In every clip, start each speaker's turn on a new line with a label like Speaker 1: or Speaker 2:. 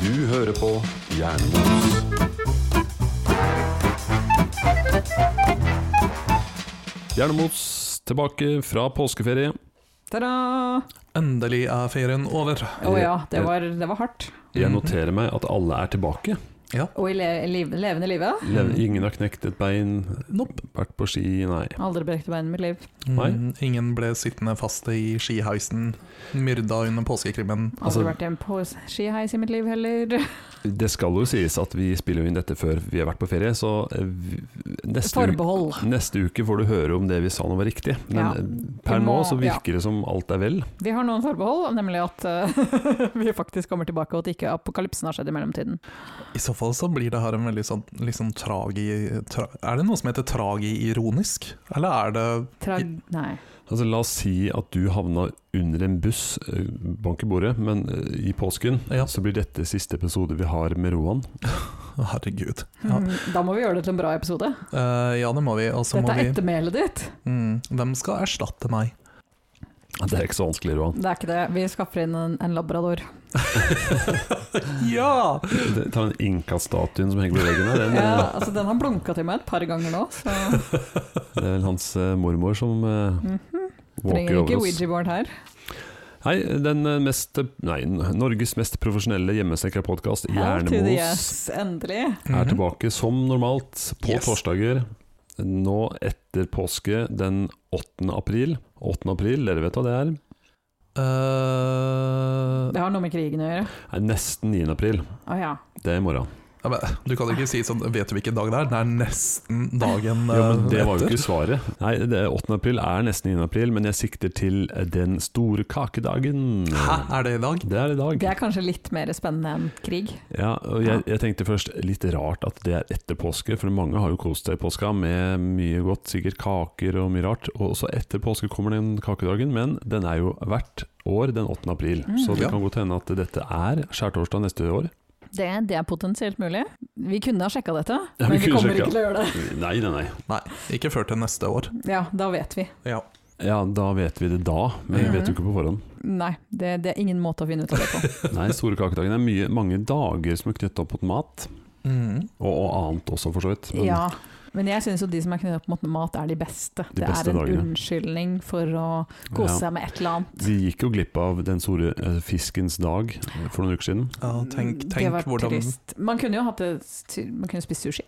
Speaker 1: Du hører på Jernmos. Jernmos tilbake fra påskeferie.
Speaker 2: Ta-da!
Speaker 3: Endelig er ferien over.
Speaker 2: Å ja, det var, det var hardt.
Speaker 1: Jeg noterer meg at alle er tilbake.
Speaker 2: Og i le liv, levende livet.
Speaker 1: Lev- Ingen har knekt et bein,
Speaker 3: Nope.
Speaker 1: vært på ski, nei.
Speaker 2: Aldri brekte bein i mitt liv.
Speaker 1: Nei.
Speaker 3: Mm, ingen ble sittende fast i skiheisen, myrda under påskekrimmen.
Speaker 2: Aldri
Speaker 1: Altså-
Speaker 2: vært i en pos- skiheis i mitt liv heller.
Speaker 1: Det skal jo sies at vi spiller jo inn dette før vi har vært på ferie, så eh, vi- neste, uke,
Speaker 2: Forbehold.
Speaker 1: neste uke får du høre om det vi sa nå var riktig. Men
Speaker 2: Ja.
Speaker 1: eh, per
Speaker 2: Vi
Speaker 1: nå
Speaker 2: må-
Speaker 1: så
Speaker 2: ja.
Speaker 1: virker det som alt er vel.
Speaker 2: Vi har noen forbehold, nemlig at eh, vi faktisk kommer tilbake, og at ikke apokalypsen har skjedd i mellomtiden.
Speaker 3: I så fall så blir det her en veldig sånn liksom tragi... Tra, er det noe som heter tragi-ironisk? Eller er det
Speaker 2: Trag... Nei.
Speaker 1: Altså La oss si at du havna under en buss, eh, bank i bordet, men eh, i påsken.
Speaker 3: Ja.
Speaker 1: Så blir dette siste episode vi har med Roan.
Speaker 3: Herregud. Ja,
Speaker 2: Hmm, Da må vi gjøre det til en bra episode.
Speaker 3: Eh, ja det må vi. Og så må
Speaker 2: Dette er
Speaker 3: vi
Speaker 2: ettermælet ditt.
Speaker 3: mm, Hvem skal erstatte meg?
Speaker 1: Det er ikke så vanskelig, Roan.
Speaker 2: Det er ikke det. Vi skaffer inn en, en labrador.
Speaker 3: Ja!
Speaker 1: Det- Ta den Inka-statuen som henger på veggen her. Den, eh,
Speaker 2: Ja, altså, den har blunka til meg et par ganger nå, så
Speaker 1: Det er vel hans eh, mormor som eh, walker
Speaker 2: trenger ikke
Speaker 1: over oss.
Speaker 2: Ouija-board her.
Speaker 1: Hei, den eh, mest Nei, Norges mest profesjonelle hjemmesnekra podkast,
Speaker 2: Hell to the
Speaker 1: Jernemos,
Speaker 2: yes, endelig.
Speaker 1: er
Speaker 3: Mhm.
Speaker 1: tilbake som normalt på
Speaker 3: Yes.
Speaker 1: torsdager. Nå etter påske den 8. april. 8. april, dere vet hva det er?
Speaker 3: Eh,
Speaker 2: Det har noe med krigen å gjøre.
Speaker 1: Nei, nesten 9. april.
Speaker 2: Å ja.
Speaker 1: Det er i morgen.
Speaker 3: ja, men du kan jo ikke si sånn Vet du hvilken dag det er? Det er nesten
Speaker 1: Jo,
Speaker 3: dagen
Speaker 1: men
Speaker 3: eh,
Speaker 1: det var jo
Speaker 3: etter.
Speaker 1: ikke svaret. Nei, det er 8. april er nesten 9. april, men jeg sikter til den store kakedagen.
Speaker 3: Hæ, er det i dag?
Speaker 1: Det er i dag.
Speaker 2: Det er kanskje litt mer spennende enn krig.
Speaker 1: Ja, og jeg, jeg tenkte først litt rart at det er etter påske, for mange har jo kost seg i påska med mye godt, sikkert kaker og mye rart. Og så etter påske kommer den kakedagen, men den er jo hvert år den 8. april.
Speaker 2: Mm.
Speaker 1: Så det
Speaker 3: Ja.
Speaker 1: kan godt hende at dette er skjærtorsdag neste år.
Speaker 2: Det, det er potensielt mulig. Vi kunne ha sjekka dette,
Speaker 1: Ja, vi
Speaker 2: men vi
Speaker 1: kunne
Speaker 2: kommer
Speaker 1: sjekka.
Speaker 2: ikke til å gjøre det.
Speaker 1: Nei, nei, nei.
Speaker 3: Nei, ikke før til neste år.
Speaker 2: Ja, da vet vi.
Speaker 3: Ja.
Speaker 1: Ja, da vet vi det da, men vi vet jo ikke på forhånd.
Speaker 2: Nei, det, det er ingen måte å finne ut av det på.
Speaker 1: Nei, store kakedagen er mye, mange dager som er knyttet opp mot mat,
Speaker 3: Mhm.
Speaker 1: og, og annet også for så vidt. Men
Speaker 2: Ja, men jeg syns jo de som er knyttet opp mot mat, er de beste.
Speaker 1: De
Speaker 2: det
Speaker 1: beste
Speaker 2: er en
Speaker 1: dagene.
Speaker 2: unnskyldning for å kose
Speaker 1: Ja.
Speaker 2: seg med et eller annet.
Speaker 1: vi gikk jo glipp av den store eh, fiskens dag eh, for noen uker siden.
Speaker 3: Ja, tenk,
Speaker 2: Mm, det
Speaker 3: tenk
Speaker 2: var
Speaker 3: hvordan
Speaker 2: trist. Man kunne jo hatt det Man kunne spist sushi.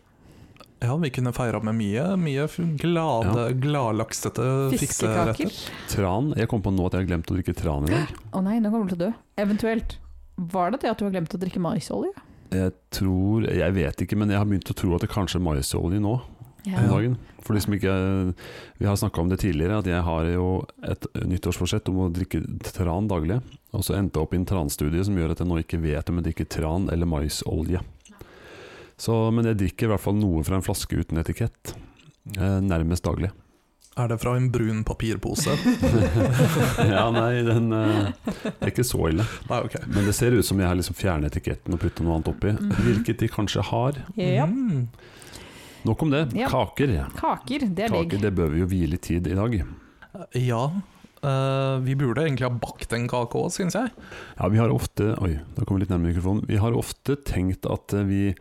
Speaker 3: Ja, vi kunne feira med mye, mye f- glade, gladlaksete
Speaker 2: Fiskekaker.
Speaker 3: fikseretter.
Speaker 1: Tran. Jeg kom på nå at jeg har glemt å drikke tran i dag.
Speaker 2: Å nei, nå kommer du til å dø. Eventuelt. Var det det at du har glemt å drikke maisolje?
Speaker 1: Jeg tror Jeg vet ikke, men jeg har begynt å tro at det kanskje er maisolje nå om
Speaker 3: Ja.
Speaker 1: dagen. For de som ikke Vi har snakka om det tidligere, at jeg har jo et nyttårsforsett om å drikke tran daglig. Og så endte jeg opp i en transtudie som gjør at jeg nå ikke vet om jeg drikker tran eller maisolje. Så, men jeg drikker i hvert fall noe fra en flaske uten etikett. eh, Nærmest daglig.
Speaker 3: Er det fra en brun papirpose?
Speaker 1: ja, nei, den eh, Det er ikke så ille.
Speaker 3: Nei, ok.
Speaker 1: Men det ser ut som jeg har liksom fjernet etiketten og putta noe annet oppi.
Speaker 2: Mm.
Speaker 1: Hvilket de kanskje har.
Speaker 2: Ja.
Speaker 1: Mhm.
Speaker 3: Mm.
Speaker 1: Nok om det.
Speaker 2: Ja.
Speaker 1: Kaker.
Speaker 2: Kaker, det er digg.
Speaker 1: Kaker, det bør vi jo hvile i tid i dag.
Speaker 3: Ja. eh, vi burde egentlig ha bakt en kake òg, syns jeg.
Speaker 1: Ja, vi har ofte Oi, da kom jeg litt nærmere mikrofonen. Vi har ofte tenkt at eh, vi,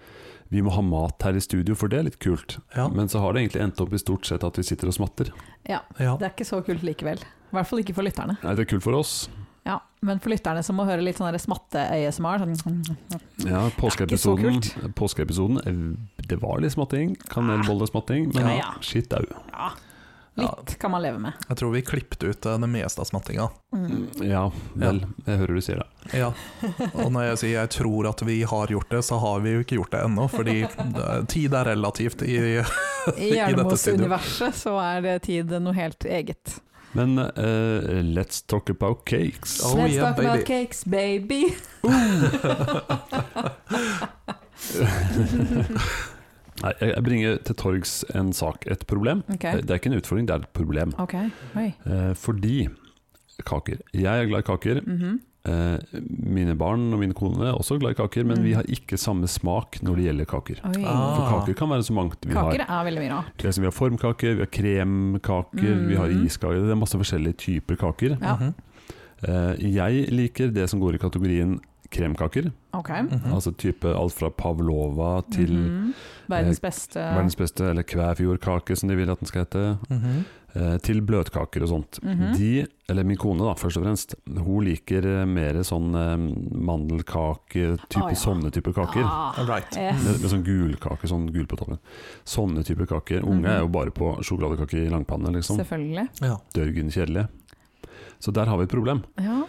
Speaker 1: vi må ha mat her i studio, for det er litt kult.
Speaker 3: Ja.
Speaker 1: Men så har det egentlig endt opp i stort sett at vi sitter og smatter.
Speaker 2: Ja,
Speaker 3: Ja.
Speaker 2: det er ikke så kult likevel. I hvert fall ikke for lytterne.
Speaker 1: Nei, det er kult for oss.
Speaker 2: Ja, Men for lytterne som må høre litt sånn der smatte-ASMR sånn,
Speaker 1: Ja,
Speaker 2: ikke så
Speaker 1: påskeepisoden, påskeepisoden eh, Det var litt smatting. Kanelbollesmatting. Men
Speaker 2: Ah. Ja, ja.
Speaker 1: shit au.
Speaker 2: Ja, litt kan man leve med.
Speaker 3: Jeg tror vi klippte ut eh, det meste av smattinga.
Speaker 2: Mm.
Speaker 1: Ja, vel. Jeg hører du sier det.
Speaker 3: Ja. Og når jeg sier jeg tror at vi har gjort det, så har vi jo ikke gjort det ennå, fordi eh, tid er relativt i
Speaker 2: I
Speaker 3: I dette
Speaker 2: Jernmos-universet så er det tid noe helt eget.
Speaker 1: Men eh, let's talk about cakes.
Speaker 3: Oh,
Speaker 2: Let's
Speaker 3: yeah,
Speaker 2: talk about
Speaker 3: baby.
Speaker 2: cakes, baby!
Speaker 1: Nei, jeg jeg bringer til torgs en sak, et problem. Eh,
Speaker 2: Ok,
Speaker 1: Det det er ikke en utfordring, det er et problem.
Speaker 2: ok, oi.
Speaker 1: Eh, fordi kaker. Jeg er glad i kaker.
Speaker 2: Mhm.
Speaker 1: Eh, mine barn og min kone er også glad i kaker, men
Speaker 2: Mm.
Speaker 1: vi har ikke samme smak når det gjelder kaker.
Speaker 2: Oi.
Speaker 3: Ah.
Speaker 1: For kaker kan være så mangt vi har.
Speaker 2: Kaker er veldig mye rart.
Speaker 1: Det er som vi har formkaker, vi har kremkaker, vi har
Speaker 2: Mm.
Speaker 1: iskaker. Det er masse forskjellige typer kaker.
Speaker 2: Ja.
Speaker 3: Mhm.
Speaker 1: Eh, jeg liker det som går i kategorien kremkaker.
Speaker 2: Ok.
Speaker 3: Mhm.
Speaker 1: Altså type alt fra pavlova til
Speaker 2: Mhm. Verdens beste
Speaker 1: verdens beste, eller kvæfjordkake som de vil at den skal hete.
Speaker 3: Mhm.
Speaker 1: eh, Til bløtkaker og sånt.
Speaker 2: Mhm.
Speaker 1: De, eller min kone da, først og fremst, hun liker eh, mer sånn eh, mandelkake, type,
Speaker 2: Å, ja.
Speaker 1: sånne typer kaker.
Speaker 2: Ah,
Speaker 3: Right.
Speaker 2: yes.
Speaker 1: Med, med sånn gulkake, sånn gul på toppen. Sånne typer kaker. Unge
Speaker 2: Mhm.
Speaker 1: er jo bare på sjokoladekake i langpanne, liksom.
Speaker 2: Selvfølgelig.
Speaker 3: Ja.
Speaker 1: Dørgen kjedelig. Så der har vi et problem.
Speaker 2: Ja.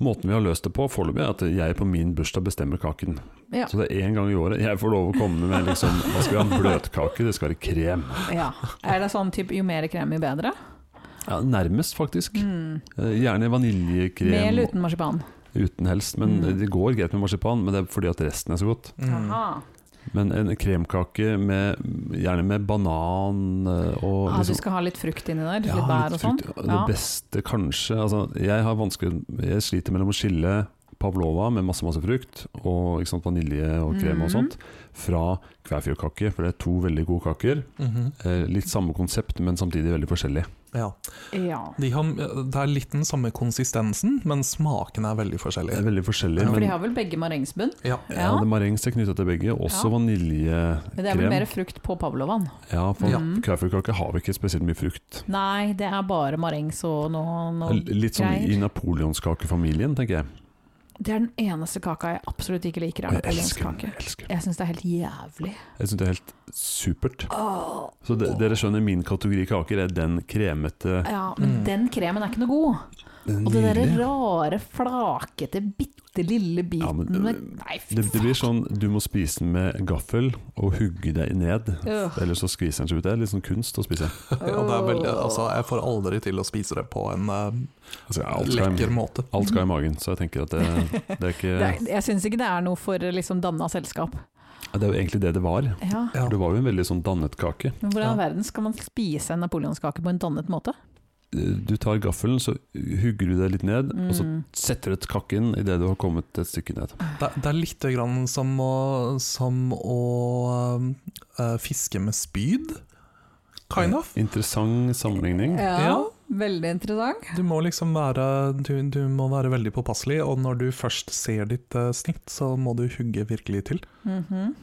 Speaker 1: Måten vi har løst det på foreløpig, er at jeg på min bursdag bestemmer kaken.
Speaker 2: Ja.
Speaker 1: Så det er én gang i året jeg får lov å komme med liksom Da skal vi ha en bløtkake, det skal være krem.
Speaker 2: ja. Er det sånn typ jo mer krem, jo bedre?
Speaker 1: Ja, nærmest, faktisk.
Speaker 2: Mm.
Speaker 1: Eh, Gjerne vaniljekrem.
Speaker 2: Med eller uten marsipan?
Speaker 1: Uten helst, men
Speaker 2: Mm.
Speaker 1: det går greit med marsipan, men det er fordi at resten er så godt.
Speaker 3: Mm.
Speaker 2: Aha.
Speaker 1: Men en kremkake med, gjerne med banan eh, og
Speaker 2: Ah, du
Speaker 1: liksom-
Speaker 2: skal ha litt frukt inni der?
Speaker 1: Ja,
Speaker 2: Litt bær og sånn?
Speaker 1: frukt. Det
Speaker 2: Ja.
Speaker 1: beste kanskje altså, jeg, har vanskelig, jeg sliter mellom å skille pavlova med masse masse frukt og ikke sant, vanilje og krem og
Speaker 2: Mhm.
Speaker 1: sånt, fra kvæfjordkake, for det er to veldig gode kaker.
Speaker 3: Mhm.
Speaker 1: Eh, litt samme konsept, men samtidig veldig forskjellig.
Speaker 3: ja.
Speaker 2: Ja.
Speaker 3: De har, det er litt den samme konsistensen, men smakene er veldig
Speaker 1: Det
Speaker 3: forskjellige.
Speaker 1: er veldig forskjellig,
Speaker 2: For de
Speaker 1: men
Speaker 2: har vel begge marengsbunn?
Speaker 3: Ja.
Speaker 1: ja, det marengs er knytta til begge, også
Speaker 2: Ja. Men det er vel
Speaker 1: vaniljekrem.
Speaker 2: mer frukt på pavlovaen?
Speaker 1: Ja, for
Speaker 3: Ja.
Speaker 1: kvæfjordkake har vi ikke spesielt mye frukt.
Speaker 2: Nei, det er bare marengs og noe, noe
Speaker 1: L- Litt sånn i
Speaker 2: greier.
Speaker 1: napoleonskakefamilien, tenker jeg.
Speaker 2: Det er den eneste kaka jeg absolutt ikke liker.
Speaker 1: Og
Speaker 2: Er
Speaker 1: jeg elsker den.
Speaker 2: napoleonskake.
Speaker 1: Jeg, elsker den.
Speaker 2: Jeg syns det er helt jævlig.
Speaker 1: jeg syns det er helt supert.
Speaker 2: Åh.
Speaker 1: Så de, dere skjønner, min kategori kaker er den kremete
Speaker 2: Ja, men
Speaker 3: Mm.
Speaker 2: den kremen er ikke noe god.
Speaker 1: den
Speaker 2: Og den derre
Speaker 1: nydelige.
Speaker 2: rare, flakete, bitte lille biten
Speaker 1: Ja, men, øh,
Speaker 2: med Nei, fy
Speaker 1: det, det blir sånn du må spise den med gaffel og hugge deg ned.
Speaker 2: Øh.
Speaker 1: Ellers så skviser den seg ut. Det er litt sånn kunst å spise.
Speaker 3: Ja, det er veldig, altså, jeg får aldri til å spise det på en eh,
Speaker 1: Altså, alt, skal,
Speaker 3: lekker
Speaker 1: i-
Speaker 3: måte.
Speaker 1: alt skal i magen, så jeg tenker at det, det er ikke
Speaker 2: Det er, jeg syns ikke det er noe for liksom danna selskap.
Speaker 1: Det er jo egentlig det det var.
Speaker 2: Ja.
Speaker 3: Ja.
Speaker 1: Det var jo en veldig sånn dannet kake.
Speaker 2: Men hvordan
Speaker 3: Ja.
Speaker 2: i all verden skal man spise en napoleonskake på en dannet måte?
Speaker 1: Du tar gaffelen, så hugger du deg litt ned, og så
Speaker 2: Mm.
Speaker 1: setter du et kakken idet du har kommet et stykke ned.
Speaker 3: Det, det er litt grann som å, som å eh, fiske med spyd, kind of.
Speaker 1: Interessant sammenligning.
Speaker 2: Ja,
Speaker 3: Ja.
Speaker 2: veldig interessant.
Speaker 3: Du må liksom være, du, du må være veldig påpasselig, og når du først ser ditt eh, snitt, så må du hugge virkelig til.
Speaker 2: Mhm.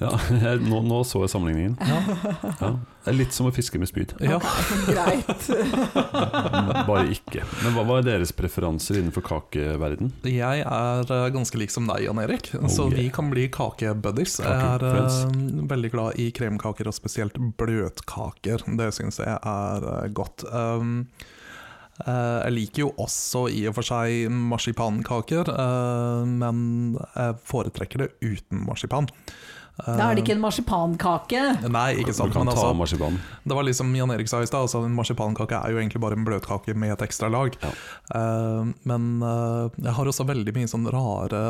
Speaker 1: Ja, jeg, nå, nå så jeg sammenligningen. Ja. Det er litt som å fiske med spyd.
Speaker 3: Ja.
Speaker 2: Ok, greit.
Speaker 1: Bare ikke. Men hva, hva er deres preferanser innenfor kakeverden?
Speaker 3: Jeg er eh, ganske lik som deg, Jan Erik, så
Speaker 1: Oh, yeah.
Speaker 3: vi kan bli kakebuddies. Jeg er eh, veldig glad i kremkaker, og spesielt bløtkaker. Det syns jeg er eh, godt. Um, eh, jeg liker jo også i og for seg marsipankaker, eh, men jeg foretrekker det uten marsipan. Eh,
Speaker 2: Da er det ikke en marsipankake!
Speaker 3: Nei, ikke sant.
Speaker 1: du kan
Speaker 3: Men
Speaker 1: ta
Speaker 3: altså,
Speaker 1: marsipan.
Speaker 3: det var liksom Jan Erik sa i stad, altså en marsipankake er jo egentlig bare en bløtkake med et ekstra lag.
Speaker 1: Ja.
Speaker 3: Eh, men eh, jeg har også veldig mye sånn rare,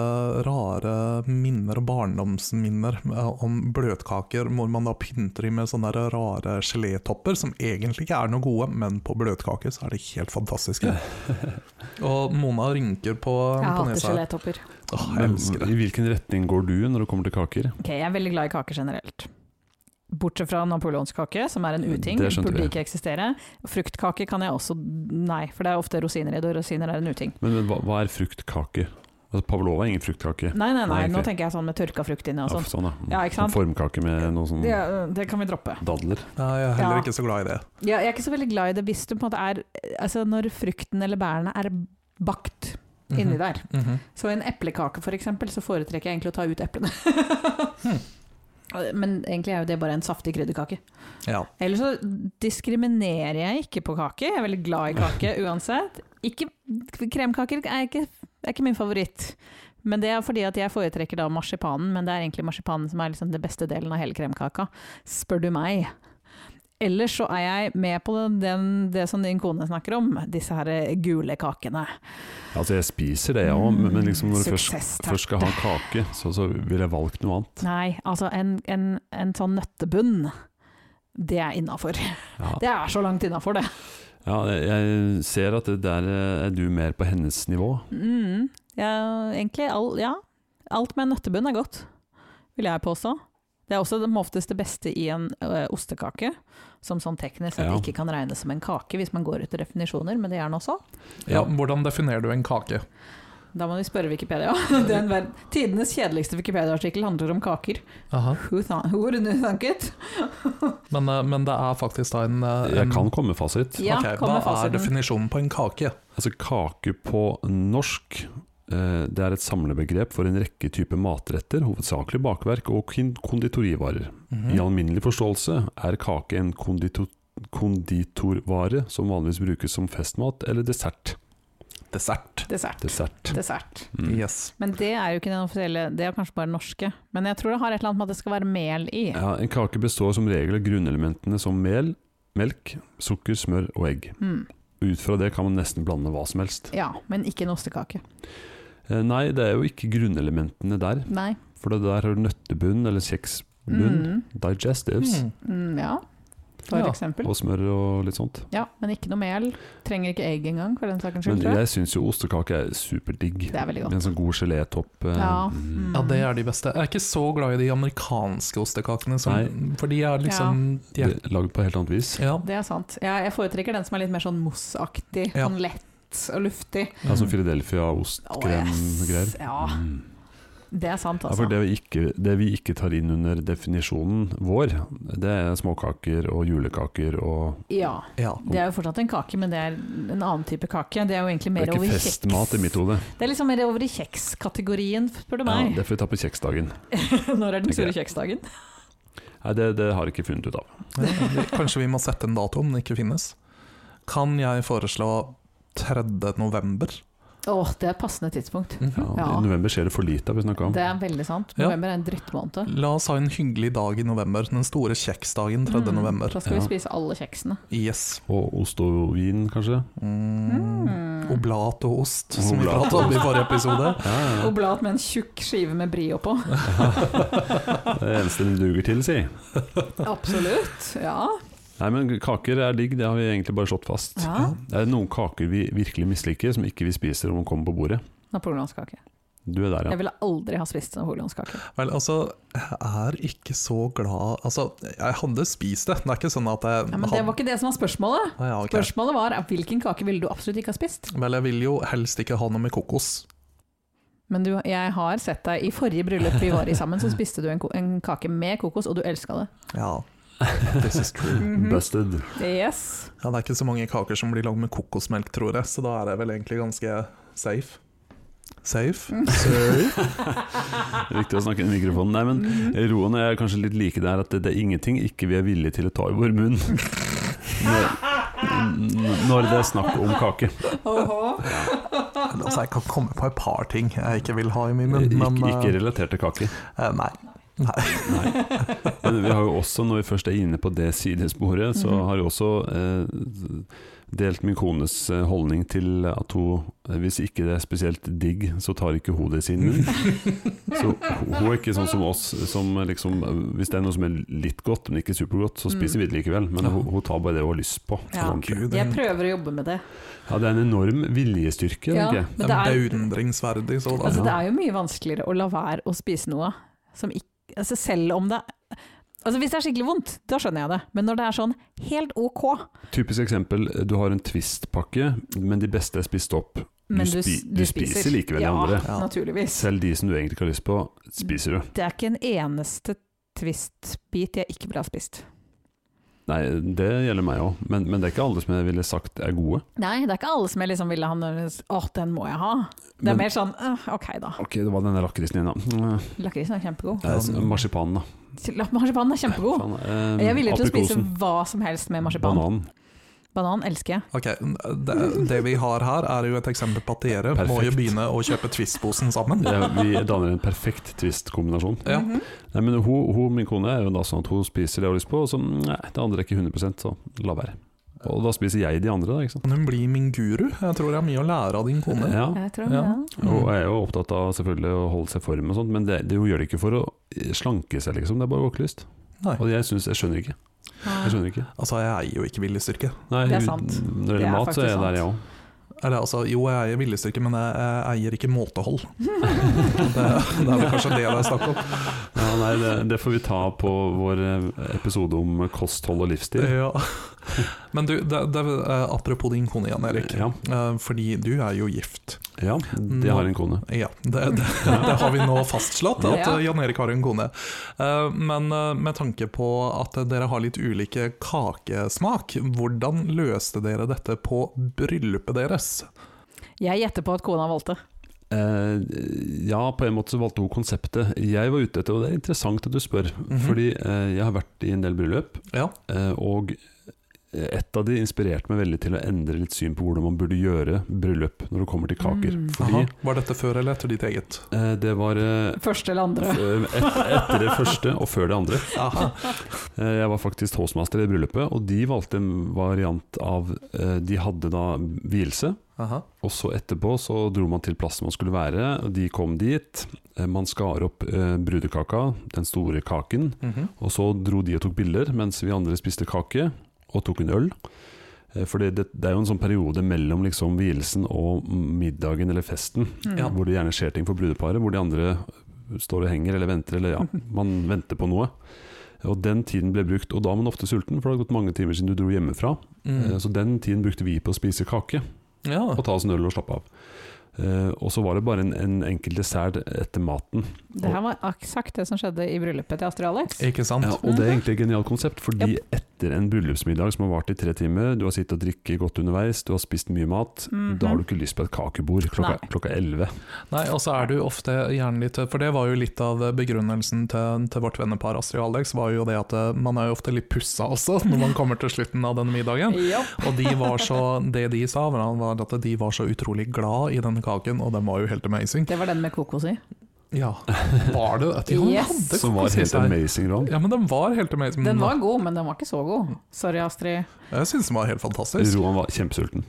Speaker 3: rare minner og barndomsminner eh, om bløtkaker, hvor man da pynter i med sånne der rare gelétopper, som egentlig ikke er noe gode, men på bløtkake så er de helt fantastiske. og Mona rynker på,
Speaker 2: Jeg
Speaker 3: på
Speaker 2: hater
Speaker 3: nesa. her.
Speaker 2: gelétopper.
Speaker 3: Åh, jeg
Speaker 1: Men
Speaker 3: elsker det.
Speaker 1: I hvilken retning går du når det kommer til kaker?
Speaker 2: Ok, jeg er veldig glad i kaker generelt. Bortsett fra napoleonskake, som er en uting,
Speaker 1: Det skjønte
Speaker 2: burde
Speaker 1: vi.
Speaker 2: ikke eksistere. Fruktkake kan jeg også Nei, for det er ofte rosiner i det, og rosiner er en uting.
Speaker 1: Men, men hva, hva er fruktkake? Altså, Pavlova er ingen fruktkake.
Speaker 2: Nei, nei, nei,
Speaker 1: Nei, ok.
Speaker 2: nå tenker jeg sånn med tørka frukt inni og
Speaker 1: Ja,
Speaker 2: sånn.
Speaker 1: sånn, ja.
Speaker 2: Ja, ikke sant?
Speaker 1: Formkake med noe sånn
Speaker 2: Det, det kan vi droppe.
Speaker 1: dadler.
Speaker 3: Nei, jeg er heller
Speaker 2: Ja.
Speaker 3: ikke så glad i det.
Speaker 2: Ja, jeg er ikke så veldig glad i det hvis du på en måte er Altså når frukten eller bærene er bakt inni der.
Speaker 3: Mhm.
Speaker 2: Så i en eplekake for eksempel, så foretrekker jeg egentlig å ta ut eplene.
Speaker 1: Hmm.
Speaker 2: Men egentlig er jo det bare en saftig krydderkake.
Speaker 3: Ja.
Speaker 2: Eller så diskriminerer jeg ikke på kake. Jeg er veldig glad i kake uansett. Ikke, kremkaker er ikke, er ikke min favoritt. Men det er fordi at jeg foretrekker da marsipanen, men det er egentlig marsipanen som er liksom den beste delen av hele kremkaka, spør du meg. Ellers så er jeg med på den, det som din kone snakker om, disse her gule kakene.
Speaker 1: Altså, jeg spiser det, jeg
Speaker 2: Mm.
Speaker 1: òg, men, men liksom når du først,
Speaker 2: Suksessterte.
Speaker 1: først skal ha kake, så, så ville jeg valgt noe annet.
Speaker 2: Nei, altså en, en, en sånn nøttebunn, det er innafor.
Speaker 1: Ja.
Speaker 2: Det er så langt innafor, det.
Speaker 1: eh, Ja, jeg ser at det der er du mer på hennes nivå.
Speaker 2: Mm. Jeg, egentlig all, ja, alt med nøttebunn er godt, vil jeg påstå. Det er også det- må oftest det beste i en ø, ostekake, som sånn teknisk sett
Speaker 1: Ja.
Speaker 2: ikke kan regnes som en kake hvis man går etter definisjoner, men det gjør den også.
Speaker 3: Ja, hvordan definerer du en kake?
Speaker 2: Da må vi spørre Wikipedia. Det er en verd- Tidenes kjedeligste Wikipedia-artikkel handler om kaker. Who, thought, who would have thunk it?
Speaker 3: Men, eh, men det er faktisk da en eh,
Speaker 1: Jeg
Speaker 3: en-
Speaker 1: kan komme med fasit.
Speaker 2: Ja,
Speaker 3: Ok,
Speaker 2: kom med
Speaker 3: Hva er
Speaker 2: fasiten.
Speaker 3: definisjonen på en kake?
Speaker 1: Altså kake på norsk eh, det er et samlebegrep for en rekke typer matretter, hovedsakelig bakverk og kin- konditorivarer.
Speaker 3: Mm. Mhm.
Speaker 1: I alminnelig forståelse er kake en kondito konditorvare som vanligvis brukes som festmat eller dessert.
Speaker 3: Dessert.
Speaker 2: Dessert.
Speaker 1: Dessert.
Speaker 2: Dessert.
Speaker 1: Mm.
Speaker 3: Yes.
Speaker 2: Men det er jo ikke den offisielle, det er kanskje bare den norske. Men jeg tror det har et eller annet med at det skal være mel i.
Speaker 1: Ja, en kake består som regel av grunnelementene som mel, melk, sukker, smør og egg.
Speaker 2: Mm.
Speaker 1: Ut fra det kan man nesten blande hva som helst.
Speaker 2: Ja, men ikke en ostekake.
Speaker 1: Eh, Nei, det er jo ikke grunnelementene der,
Speaker 2: Nei.
Speaker 1: for det der har du nøttebunn eller kjeksbunn,
Speaker 2: Mm.
Speaker 1: digestives
Speaker 3: Mm.
Speaker 2: Mm, ja, for
Speaker 3: Ja.
Speaker 2: eksempel.
Speaker 1: og smør og litt sånt.
Speaker 2: Ja, men ikke noe mel. Trenger ikke egg engang, for den sakens
Speaker 1: Men
Speaker 2: skyld. tror jeg.
Speaker 1: jeg syns jo ostekake er superdigg.
Speaker 2: Det er veldig
Speaker 1: Med
Speaker 2: godt.
Speaker 1: en sånn god gelétopp. eh,
Speaker 2: Ja.
Speaker 1: mm.
Speaker 3: Ja, det er de beste. Jeg er ikke så glad i de amerikanske ostekakene, som,
Speaker 1: Nei.
Speaker 3: for de er liksom de er,
Speaker 1: Det er Lagd på helt annet vis.
Speaker 3: Ja.
Speaker 2: Det er sant. Ja, jeg foretrekker den som er litt mer sånn mousseaktig.
Speaker 3: Ja.
Speaker 2: Sånn lett og luftig.
Speaker 1: Ja, sånn Philadelphia-ostkrem og greier.
Speaker 2: Ja,
Speaker 1: Mm.
Speaker 2: det er sant,
Speaker 1: Ja, for
Speaker 2: altså.
Speaker 1: det vi, ikke, det vi ikke tar inn under definisjonen vår, det er småkaker og julekaker og
Speaker 2: Ja,
Speaker 3: ja.
Speaker 2: det er jo fortsatt en kake, men det er en annen type kake. Det er jo egentlig
Speaker 1: Det
Speaker 2: mer
Speaker 1: er
Speaker 2: over
Speaker 1: ikke
Speaker 2: i
Speaker 1: festmat i
Speaker 2: kjeks.
Speaker 1: mitt hode.
Speaker 2: Det er liksom mer over i kjekskategorien, spør du
Speaker 1: Ja,
Speaker 2: meg.
Speaker 1: det får vi ta på kjeksdagen.
Speaker 2: Når er den
Speaker 1: tenker
Speaker 2: store
Speaker 1: jeg.
Speaker 2: kjeksdagen?
Speaker 1: Nei, det, det har jeg ikke funnet ut av.
Speaker 3: Ja, Kanskje vi må sette en dato om den ikke finnes. Kan jeg foreslå 3. november?
Speaker 2: Å, det er passende tidspunkt.
Speaker 1: Ja,
Speaker 2: Ja.
Speaker 1: I november skjer det for lite av, vi snakka om.
Speaker 2: Det er veldig sant.
Speaker 3: Ja.
Speaker 2: November er en drittmåned.
Speaker 3: La oss ha en hyggelig dag i november, den store kjeksdagen 3.
Speaker 2: Mm,
Speaker 3: november.
Speaker 2: Da skal vi
Speaker 1: Ja.
Speaker 2: spise alle kjeksene.
Speaker 3: Yes.
Speaker 1: Og ost og vin, kanskje.
Speaker 3: Mm.
Speaker 2: Mm.
Speaker 3: Oblat og ost, som vi
Speaker 1: Oblat og
Speaker 3: pratet om i forrige episode.
Speaker 1: Ja, ja, ja.
Speaker 2: Oblat med en tjukk skive med brie oppå.
Speaker 1: Det er det eneste den duger til, si.
Speaker 2: Absolutt. Ja.
Speaker 1: Nei, men kaker er digg, det har vi egentlig bare slått fast.
Speaker 2: ja.
Speaker 1: Det er noen kaker vi virkelig misliker, som ikke vi spiser om de kommer på bordet.
Speaker 2: Napoleonskake.
Speaker 1: Du er der, ja.
Speaker 2: Jeg ville aldri ha spist napoleonskake.
Speaker 3: Vel, altså, jeg er ikke så glad Altså, jeg hadde spist det. Det er ikke sånn at jeg
Speaker 2: Ja, men det var ikke det som var spørsmålet.
Speaker 3: Ah, ja, ok.
Speaker 2: Spørsmålet var eh, hvilken kake ville du absolutt ikke ha spist?
Speaker 3: Vel, jeg vil jo helst ikke ha noe med kokos.
Speaker 2: Men du, jeg har sett deg i forrige bryllup vi var i sammen, så spiste du en, ko en kake med kokos, og du elska det.
Speaker 3: Ja, this is true.
Speaker 1: Mhm. Busted.
Speaker 2: Yes.
Speaker 3: Ja, det er ikke så mange kaker som blir lagd med kokosmelk, tror jeg, så da er jeg vel egentlig ganske safe. Safe?
Speaker 2: Mm.
Speaker 3: Safe?
Speaker 1: Det er viktig å snakke inn i mikrofonen. Nei, men Roan og jeg er kanskje litt like der, at det, det er ingenting ikke vi er villige til å ta i vår munn. Når, n- når det er snakk om kake.
Speaker 3: Altså, jeg kan komme på et par ting jeg ikke vil ha i min munn,
Speaker 1: Ikke,
Speaker 3: men eh,
Speaker 1: ikke relatert til kake.
Speaker 3: eh, Nei.
Speaker 1: Men vi har jo også, når vi først er inne på det sidesporet, så
Speaker 2: Mhm.
Speaker 1: har jeg også eh, delt min kones eh, holdning til at hun, eh, hvis ikke det er spesielt digg, så tar ikke hun det i sin munn. Så hun hun er ikke sånn som oss, som liksom eh, Hvis det er noe som er litt godt, men ikke supergodt, så spiser vi det likevel. Men hun, hun tar bare det hun har lyst på.
Speaker 2: Mm. Ja.
Speaker 1: ordentlig.
Speaker 3: Gud,
Speaker 2: Jeg
Speaker 3: det
Speaker 2: prøver å jobbe med det.
Speaker 1: ja, det er en enorm viljestyrke,
Speaker 2: Ja,
Speaker 1: tenker jeg.
Speaker 2: men
Speaker 3: det er beundringsverdig, så da.
Speaker 2: Altså, det er jo mye vanskeligere å la være å spise noe som ikke altså, Selv om det Altså, hvis det er skikkelig vondt, da skjønner jeg det. Men når det er sånn helt ok,
Speaker 1: Typisk eksempel, du har en Twist-pakke, men de beste er spist opp.
Speaker 2: men
Speaker 1: Du
Speaker 2: du,
Speaker 1: spi-
Speaker 2: du,
Speaker 1: du spiser likevel de
Speaker 2: ja,
Speaker 1: andre.
Speaker 2: Ja, naturligvis.
Speaker 1: Selv de som du egentlig ikke har lyst på, spiser du.
Speaker 2: Det er ikke en eneste twist-bit jeg ikke ville ha spist.
Speaker 1: Nei, det gjelder meg òg, men, men det er ikke alle som jeg ville sagt er gode.
Speaker 2: Nei, det er ikke alle som jeg liksom ville ha når Å, den må jeg ha. Det er
Speaker 1: Men,
Speaker 2: mer sånn «Åh, Ok, da.
Speaker 1: Ok, det var denne lakrisen igjen, da. Eh,
Speaker 2: Lakrisen er kjempegod.
Speaker 1: Det er marsipanen, da.
Speaker 2: Marsipanen er kjempegod.
Speaker 1: Faen, eh,
Speaker 2: Jeg er villig til å spise
Speaker 1: aprikosen.
Speaker 2: hva som helst med marsipan.
Speaker 1: Bananen.
Speaker 2: Banan elsker jeg.
Speaker 3: Ok, det, det vi har her er jo et eksempel på at dere må jo
Speaker 1: Perfekt.
Speaker 3: begynne å kjøpe Twist-posen sammen.
Speaker 1: Ja, vi danner en perfekt Twist-kombinasjon.
Speaker 3: Ja.
Speaker 2: Mhm.
Speaker 1: Nei, men hun, hun, min kone, er jo da sånn at hun spiser det hun har lyst på, og så nei, det andre er ikke 100 så la være. Og da spiser jeg de andre, da, ikke sant.
Speaker 3: Kan hun bli min guru? Jeg tror jeg har mye å lære av din kone. Mm.
Speaker 1: Ja.
Speaker 2: Jeg tror,
Speaker 1: Ja.
Speaker 2: ja.
Speaker 1: Og jeg er jo opptatt av selvfølgelig å holde seg i form, og sånt, men det, det, hun gjør det ikke for å slanke seg, liksom. Det er bare våkelyst.
Speaker 3: Nei.
Speaker 1: Og jeg, synes, jeg skjønner ikke. Jeg skjønner ikke.
Speaker 3: Altså, jeg eier jo ikke viljestyrke.
Speaker 1: Nei,
Speaker 2: Det er sant.
Speaker 1: Når det
Speaker 2: Det er
Speaker 1: gjelder mat, så er jeg
Speaker 2: faktisk
Speaker 1: der, jeg òg.
Speaker 3: Eller altså, jo, jeg eier villestykket, men jeg, jeg eier ikke måtehold. det, det er vel kanskje det det er snakk om.
Speaker 1: Ja, nei, det, det får vi ta på vår eh, episode om kosthold og livsstil.
Speaker 3: Ja. Men du, det, det, eh, apropos din kone igjen, Erik.
Speaker 1: Ja.
Speaker 3: Eh, Fordi du er jo gift.
Speaker 1: Ja, de har en kone.
Speaker 3: Ja, det, det, det har vi nå fastslått, at
Speaker 2: Ja.
Speaker 3: eh, Jan Erik har en kone. Eh, Men eh, med tanke på at dere har litt ulike kakesmak, hvordan løste dere dette på bryllupet deres?
Speaker 2: Jeg gjetter på at kona valgte.
Speaker 1: Eh, ja, på en måte så valgte hun konseptet. Jeg var ute etter, og det er interessant at du spør,
Speaker 3: Mhm.
Speaker 1: fordi eh, jeg har vært i en del bryllup,
Speaker 3: Ja.
Speaker 1: eh, og et av de inspirerte meg veldig til å endre litt syn på hvordan man burde gjøre bryllup når det kommer til kaker.
Speaker 2: Mm.
Speaker 1: Fordi
Speaker 3: Aha. Var dette før eller etter ditt eget?
Speaker 1: eh, det var eh,
Speaker 2: Første eller andre.
Speaker 1: f- et, etter det første og før det andre.
Speaker 3: Aha.
Speaker 1: Eh, Jeg var faktisk toastmaster i bryllupet, og de valgte en variant av eh, De hadde da vielse,
Speaker 3: Aha.
Speaker 1: og så etterpå så dro man til plassen man skulle være, og de kom dit. Eh, Man skar opp eh, brudekaka, den store kaken,
Speaker 3: Mhm.
Speaker 1: og så dro de og tok bilder, mens vi andre spiste kake og tok en øl. Eh, For det, det, det er jo en sånn periode mellom liksom vielsen og middagen eller festen,
Speaker 2: Mm.
Speaker 3: Ja.
Speaker 1: hvor det gjerne skjer ting for brudeparet, hvor de andre står og henger eller venter, eller ja, man venter på noe. Og den tiden ble brukt, og da er man ofte sulten, for det har gått mange timer siden du dro hjemmefra. Eh,
Speaker 3: Mm.
Speaker 1: Så den tiden brukte vi på å spise kake,
Speaker 3: Ja.
Speaker 1: og ta oss en øl og slappe av. Eh, Og så var det bare en, en enkel dessert etter maten.
Speaker 2: Det her var eksakt det som skjedde i bryllupet til Astrid Alex.
Speaker 3: Ikke sant?
Speaker 1: Ja, og det er egentlig et genialt konsept, fordi etter en bryllupsmiddag som har vart i tre timer, du har sittet og drikket godt underveis, du har spist mye mat,
Speaker 2: Mhm.
Speaker 1: da har du ikke lyst på et kakebord klokka,
Speaker 2: Nei.
Speaker 1: klokka 11.
Speaker 3: Nei, og så er du ofte gjerne litt For det var jo litt av begrunnelsen til, til vårt vennepar Astrid og Alex, var jo det at eh, man er jo ofte litt pussa også når man kommer til slutten av denne middagen.
Speaker 2: Ja.
Speaker 3: Og de var så, det de sa, var at de var så utrolig glad i denne kaken, og den var jo helt amazing.
Speaker 2: Det var den med kokos i.
Speaker 3: Ja, var det at de
Speaker 2: Yes.
Speaker 3: hadde
Speaker 1: Som var helt
Speaker 3: kokosnøtter?
Speaker 1: amazing, Ron.
Speaker 3: Ja, men den var helt
Speaker 1: Mm.
Speaker 3: amazing.
Speaker 2: Den var god, men den var ikke så god. Sorry, Astrid.
Speaker 3: Jeg syns den var helt fantastisk.
Speaker 1: Roan var kjempesulten.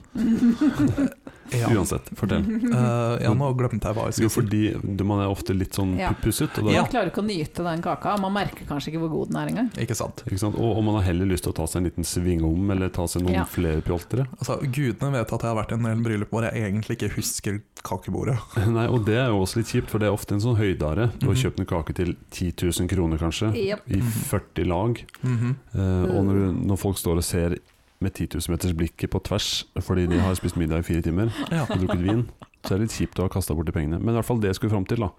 Speaker 3: Ja.
Speaker 1: Uansett, fortell.
Speaker 3: Eh, ja, nå glemte jeg hva jeg
Speaker 1: Jo,
Speaker 3: skulle si.
Speaker 1: fordi du- man er ofte litt sånn
Speaker 2: Ja.
Speaker 1: pu- pusset, og, da,
Speaker 2: Man klarer ikke å nyte den kaka. Man merker kanskje ikke hvor god den er engang.
Speaker 3: Ikke sant.
Speaker 1: ikke sant? Og, og man har heller lyst til å ta seg en liten sving om, eller ta seg noen
Speaker 2: Ja.
Speaker 1: flere pjoltere.
Speaker 3: Altså, Gudene vet at jeg har vært i en del bryllup hvor jeg egentlig ikke husker kakebordet.
Speaker 1: Nei, og det er jo også litt kjipt, for det er ofte en sånn høydare. Du har
Speaker 3: Mhm.
Speaker 1: kjøpt en kake til 10 000 kroner, kanskje,
Speaker 2: Yep.
Speaker 1: i 40 lag.
Speaker 3: Mhm.
Speaker 1: Eh, og når,
Speaker 2: Mm.
Speaker 1: du- når folk står og ser med 10 000 meters blikket på tvers fordi de har spist middag i fire timer
Speaker 3: Ja.
Speaker 1: og drukket vin, så er det litt kjipt å ha kasta bort de pengene. Men i hvert fall det jeg skulle fram til, da,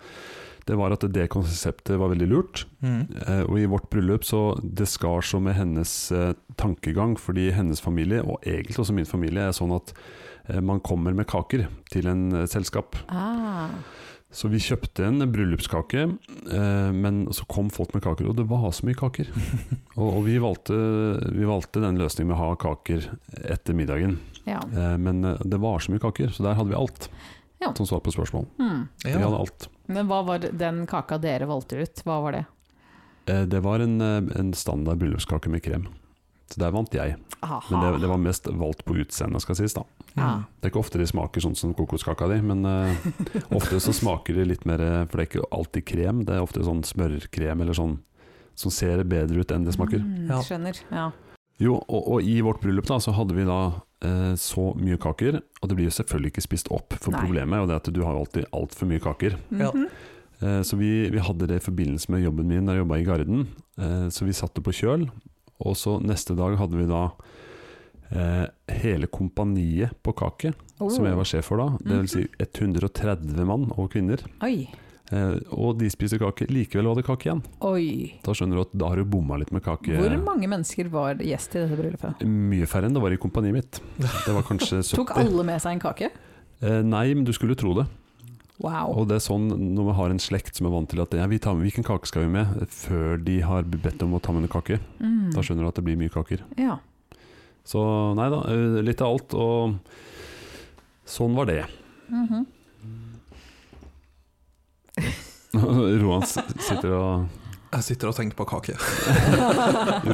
Speaker 1: det var at det konseptet var veldig lurt.
Speaker 3: Mhm.
Speaker 1: Eh, og i vårt bryllup så det skar så med hennes eh, tankegang, fordi hennes familie, og egentlig også min familie, er sånn at eh, man kommer med kaker til en eh, selskap.
Speaker 2: Ah.
Speaker 1: Så vi kjøpte en bryllupskake, eh, men så kom folk med kaker, og det var så mye kaker. Og, og vi, valgte, vi valgte den løsningen med å ha kaker etter middagen.
Speaker 2: Ja.
Speaker 1: Eh, men eh, det var så mye kaker, så der hadde vi alt.
Speaker 2: Ja.
Speaker 1: Som svar på spørsmål.
Speaker 2: Hmm.
Speaker 1: Vi
Speaker 3: Ja.
Speaker 1: hadde alt.
Speaker 2: Men hva var den kaka dere valgte ut? Hva var det?
Speaker 1: Eh, det var en, eh, en standard bryllupskake med krem. Så der vant jeg. Men det,
Speaker 2: Aha.
Speaker 1: det var mest valgt på utseendet, skal sies, da.
Speaker 2: Ja.
Speaker 3: Mm.
Speaker 1: Det er ikke ofte de smaker sånn som kokoskaka di, men eh, ofte så smaker de litt mer eh, For det er ikke alltid krem, det er ofte sånn smørkrem eller sånn som ser bedre ut enn det smaker.
Speaker 2: Mm,
Speaker 3: Ja.
Speaker 2: Skjønner. Ja.
Speaker 1: Jo, og, og i vårt bryllup da, så hadde vi da eh, så mye kaker, og det blir jo selvfølgelig ikke spist opp, for
Speaker 2: Nei.
Speaker 1: problemet er jo det at du har jo alltid altfor mye kaker.
Speaker 3: Ja.
Speaker 2: Mhm.
Speaker 1: Eh, så vi, vi hadde det i forbindelse med jobben min da jeg jobba i Garden, eh, så vi satte på kjøl, og så neste dag hadde vi da eh, hele kompaniet på kake
Speaker 2: Oh. Mhm.
Speaker 1: som jeg var sjef for da. Det vil si 130 mann og kvinner.
Speaker 2: Oi.
Speaker 1: Eh, og de spiste kake. Likevel var det kake igjen.
Speaker 2: Oi.
Speaker 1: Da skjønner du at da har du bomma litt med kake.
Speaker 2: Hvor mange mennesker var gjest i dette bryllupet?
Speaker 1: Mye færre enn det var i kompaniet mitt. Det var kanskje 70.
Speaker 2: Tok alle med seg en kake?
Speaker 1: Eh, nei, men du skulle tro det.
Speaker 2: Wow.
Speaker 1: Og det er sånn når vi har en slekt som er vant til at ja, vi tar med, hvilken kake skal vi med, før de har bedt om å ta med en kake.
Speaker 2: Mm.
Speaker 1: Da skjønner du at det blir mye kaker.
Speaker 2: Ja.
Speaker 1: Så nei da, eh, litt av alt. Og sånn var det.
Speaker 2: Mhm.
Speaker 1: Roan s- sitter og
Speaker 3: Jeg sitter og tenker på kake.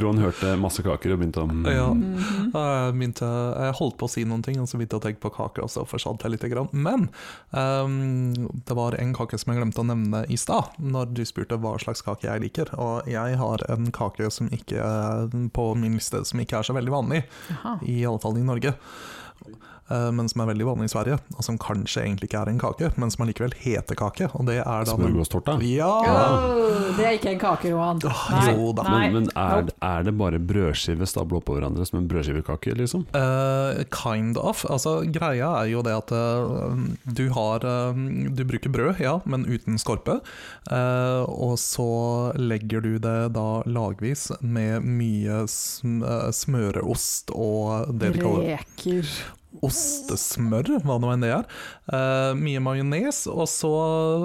Speaker 1: Roan hørte masse kaker og begynte å mm,
Speaker 3: Ja.
Speaker 2: Mhm.
Speaker 3: Jeg, begynte, jeg holdt på å si noen ting, og så begynte jeg å tenke på kake, og så forsvant jeg litt. Grann. Men ehm, det var en kake som jeg glemte å nevne i stad, når du spurte hva slags kake jeg liker. Og jeg har en kake som ikke, er- på min liste som ikke er så veldig vanlig,
Speaker 2: Jaha.
Speaker 3: i alle fall i Norge. Eh, eh, men som er veldig vanlig i Sverige, og som kanskje egentlig ikke er en kake, men som allikevel heter kake. Og det er da den-
Speaker 1: Smørgåsttorta.
Speaker 3: Ja!
Speaker 2: Åh, det er ikke en kake, Johan.
Speaker 3: Ah,
Speaker 2: Nei.
Speaker 3: jo da.
Speaker 2: Nei.
Speaker 1: Men, men er, er det bare brødskiver stabla oppå hverandre som en brødskivekake, liksom?
Speaker 3: Eh, kind of. Altså, greia er jo det at eh, du har eh, Du bruker brød, ja, men uten skorpe. Eh, og så legger du det da lagvis med mye sm eh, smøreost og det de kaller
Speaker 2: Reker.
Speaker 3: ostesmør, hva nå enn det er. Eh, mye majones, og så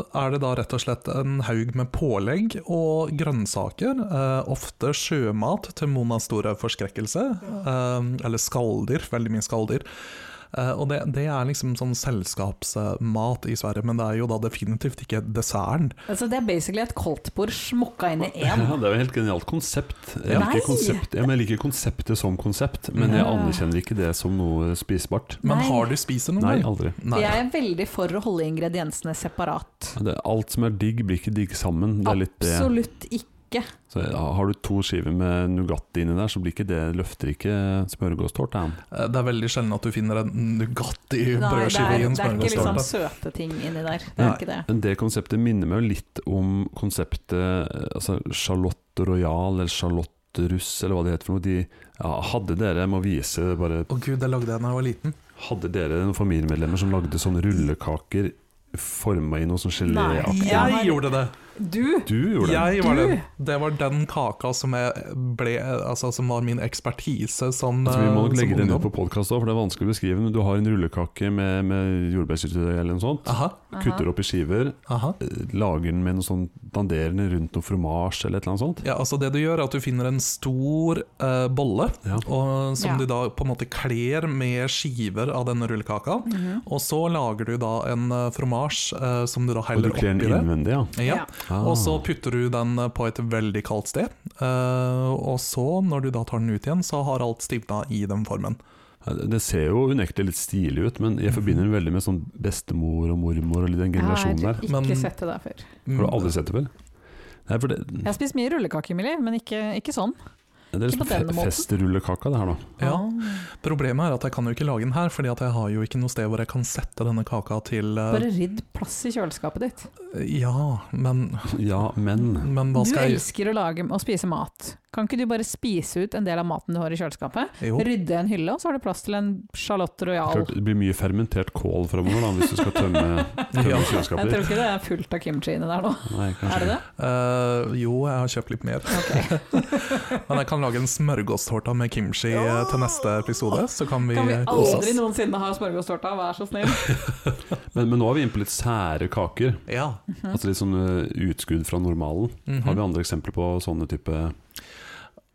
Speaker 3: er det da rett og slett en haug med pålegg og grønnsaker. eh, ofte sjømat til Monas store forskrekkelse. eh, eller skalldyr, veldig mye skalldyr. Eh, og det, det er liksom sånn selskapsmat i Sverige, men det er jo da definitivt ikke desserten.
Speaker 2: Altså, det er basically et koldtbord smukka inn i
Speaker 1: Ja,
Speaker 2: én.
Speaker 1: det er jo et helt genialt konsept. Jeg
Speaker 2: Nei.
Speaker 1: liker, konsept. Ja, men jeg liker konseptet som konsept, men jeg
Speaker 2: Ja.
Speaker 1: anerkjenner ikke det som noe spisbart.
Speaker 3: Men
Speaker 2: Nei.
Speaker 3: har du spist det
Speaker 2: Mm.
Speaker 3: noen
Speaker 1: Nei,
Speaker 3: gang?
Speaker 1: aldri.
Speaker 3: Nei.
Speaker 2: Jeg er veldig for å holde ingrediensene separat.
Speaker 1: Det, er- alt som er digg, blir ikke digg sammen. Det er litt det.
Speaker 2: Absolutt ikke.
Speaker 1: Så har du to skiver med Nugatti inni der, så blir ikke det løfter ikke smørgåstårta.
Speaker 3: Eh, Det er veldig sjelden at du finner en
Speaker 2: Nei, det
Speaker 3: Nugatti-brødskive
Speaker 2: er,
Speaker 3: i en
Speaker 2: det er ikke liksom
Speaker 3: smørgåstårte.
Speaker 2: søte ting inni der. Det er
Speaker 3: Nei.
Speaker 2: ikke det.
Speaker 1: Men det konseptet minner meg jo litt om konseptet eh, altså Charlotte Royal eller Charlotte Russ, eller hva det heter for noe. De, ja, hadde dere, jeg må vise bare
Speaker 3: Å gud, det lagde jeg da jeg var liten.
Speaker 1: Hadde dere noen familiemedlemmer som lagde sånne rullekaker forma i noe sånn
Speaker 2: Nei.
Speaker 1: geléaktig?
Speaker 2: Ja,
Speaker 3: Jeg
Speaker 2: men-
Speaker 3: gjorde det!
Speaker 2: Du,
Speaker 1: Du gjorde det?
Speaker 3: Jeg var
Speaker 2: Du?
Speaker 3: den. Det var den kaka som, jeg ble, altså, som var min ekspertise som,
Speaker 1: Altså, vi må
Speaker 3: eh,
Speaker 1: nok legge
Speaker 3: som
Speaker 1: den ut
Speaker 3: ungdom.
Speaker 1: på podkast òg, for det er vanskelig å beskrive. Men du har en rullekake med, med jordbærsyltetøy eller noe sånt.
Speaker 3: Aha,
Speaker 1: Kutter opp i skiver,
Speaker 3: aha.
Speaker 1: eh, lager den med noe sånn danderende rundt noe fromasj eller et eller annet sånt.
Speaker 3: Ja, altså det du gjør er at du finner en stor eh, bolle,
Speaker 1: Ja.
Speaker 3: og, som
Speaker 2: Ja.
Speaker 3: du da på en måte kler med skiver av denne rullekaka.
Speaker 2: Mhm.
Speaker 3: Og så lager du da en uh, fromasj eh, som du da
Speaker 1: Og du
Speaker 3: heller
Speaker 1: kler den
Speaker 3: oppi det.
Speaker 1: innvendig, ja.
Speaker 3: Ja.
Speaker 1: Ah.
Speaker 3: Og så putter du den eh, på et veldig kaldt sted. eh, og så, når du da tar den ut igjen, så har alt stivna i den formen.
Speaker 1: Ja, Det det ser jo unektelig litt stilig ut, men jeg forbinder den veldig med sånn bestemor og mormor og litt den generasjonen der.
Speaker 2: Jeg har
Speaker 3: Men-
Speaker 2: ikke sett det der før.
Speaker 1: Har du aldri sett det før? Nei, for det,
Speaker 2: Jeg har spist mye rullekake i mitt liv, men ikke, ikke sånn.
Speaker 1: det er
Speaker 2: ikke
Speaker 1: liksom
Speaker 2: på denne
Speaker 1: fe-
Speaker 2: måten.
Speaker 1: festrullekaka, det her nå.
Speaker 3: Ja. Problemet er at jeg kan jo ikke lage den her, fordi at jeg har jo ikke noe sted hvor jeg kan sette denne kaka til eh,
Speaker 2: Bare ridd plass i kjøleskapet ditt.
Speaker 3: Ja, men,
Speaker 1: Ja, men
Speaker 3: men hva
Speaker 2: Du
Speaker 3: skal jeg
Speaker 2: elsker å lage og spise mat. Kan ikke du bare spise ut en del av maten du har i kjøleskapet?
Speaker 3: Jo,
Speaker 2: Rydde en hylle, og så har du plass til en Charlotte Royal.
Speaker 1: klart, det blir mye fermentert kål framover da, hvis du skal tømme,
Speaker 3: Ja.
Speaker 1: tømme
Speaker 2: Jeg
Speaker 1: kjøleskapet
Speaker 2: tror
Speaker 1: ditt.
Speaker 2: ikke det er fullt av kimchi inni der nå.
Speaker 1: Nei,
Speaker 2: Er det
Speaker 1: kanskje
Speaker 2: det?
Speaker 3: eh, jo jeg har kjøpt litt mer.
Speaker 2: Ok.
Speaker 3: Men jeg kan lage en smørgåstårta med kimchi eh,
Speaker 2: Ja!
Speaker 3: til neste episode, så kan vi
Speaker 2: Kan vi
Speaker 3: kose
Speaker 2: aldri
Speaker 3: oss.
Speaker 2: noensinne ha smørgåstårta, vær så snill?
Speaker 1: Men, men nå er vi inne på litt sære kaker.
Speaker 3: Ja.
Speaker 1: Altså litt sånn eh, utskudd fra normalen.
Speaker 3: mhm.
Speaker 1: Har vi andre eksempler på sånne type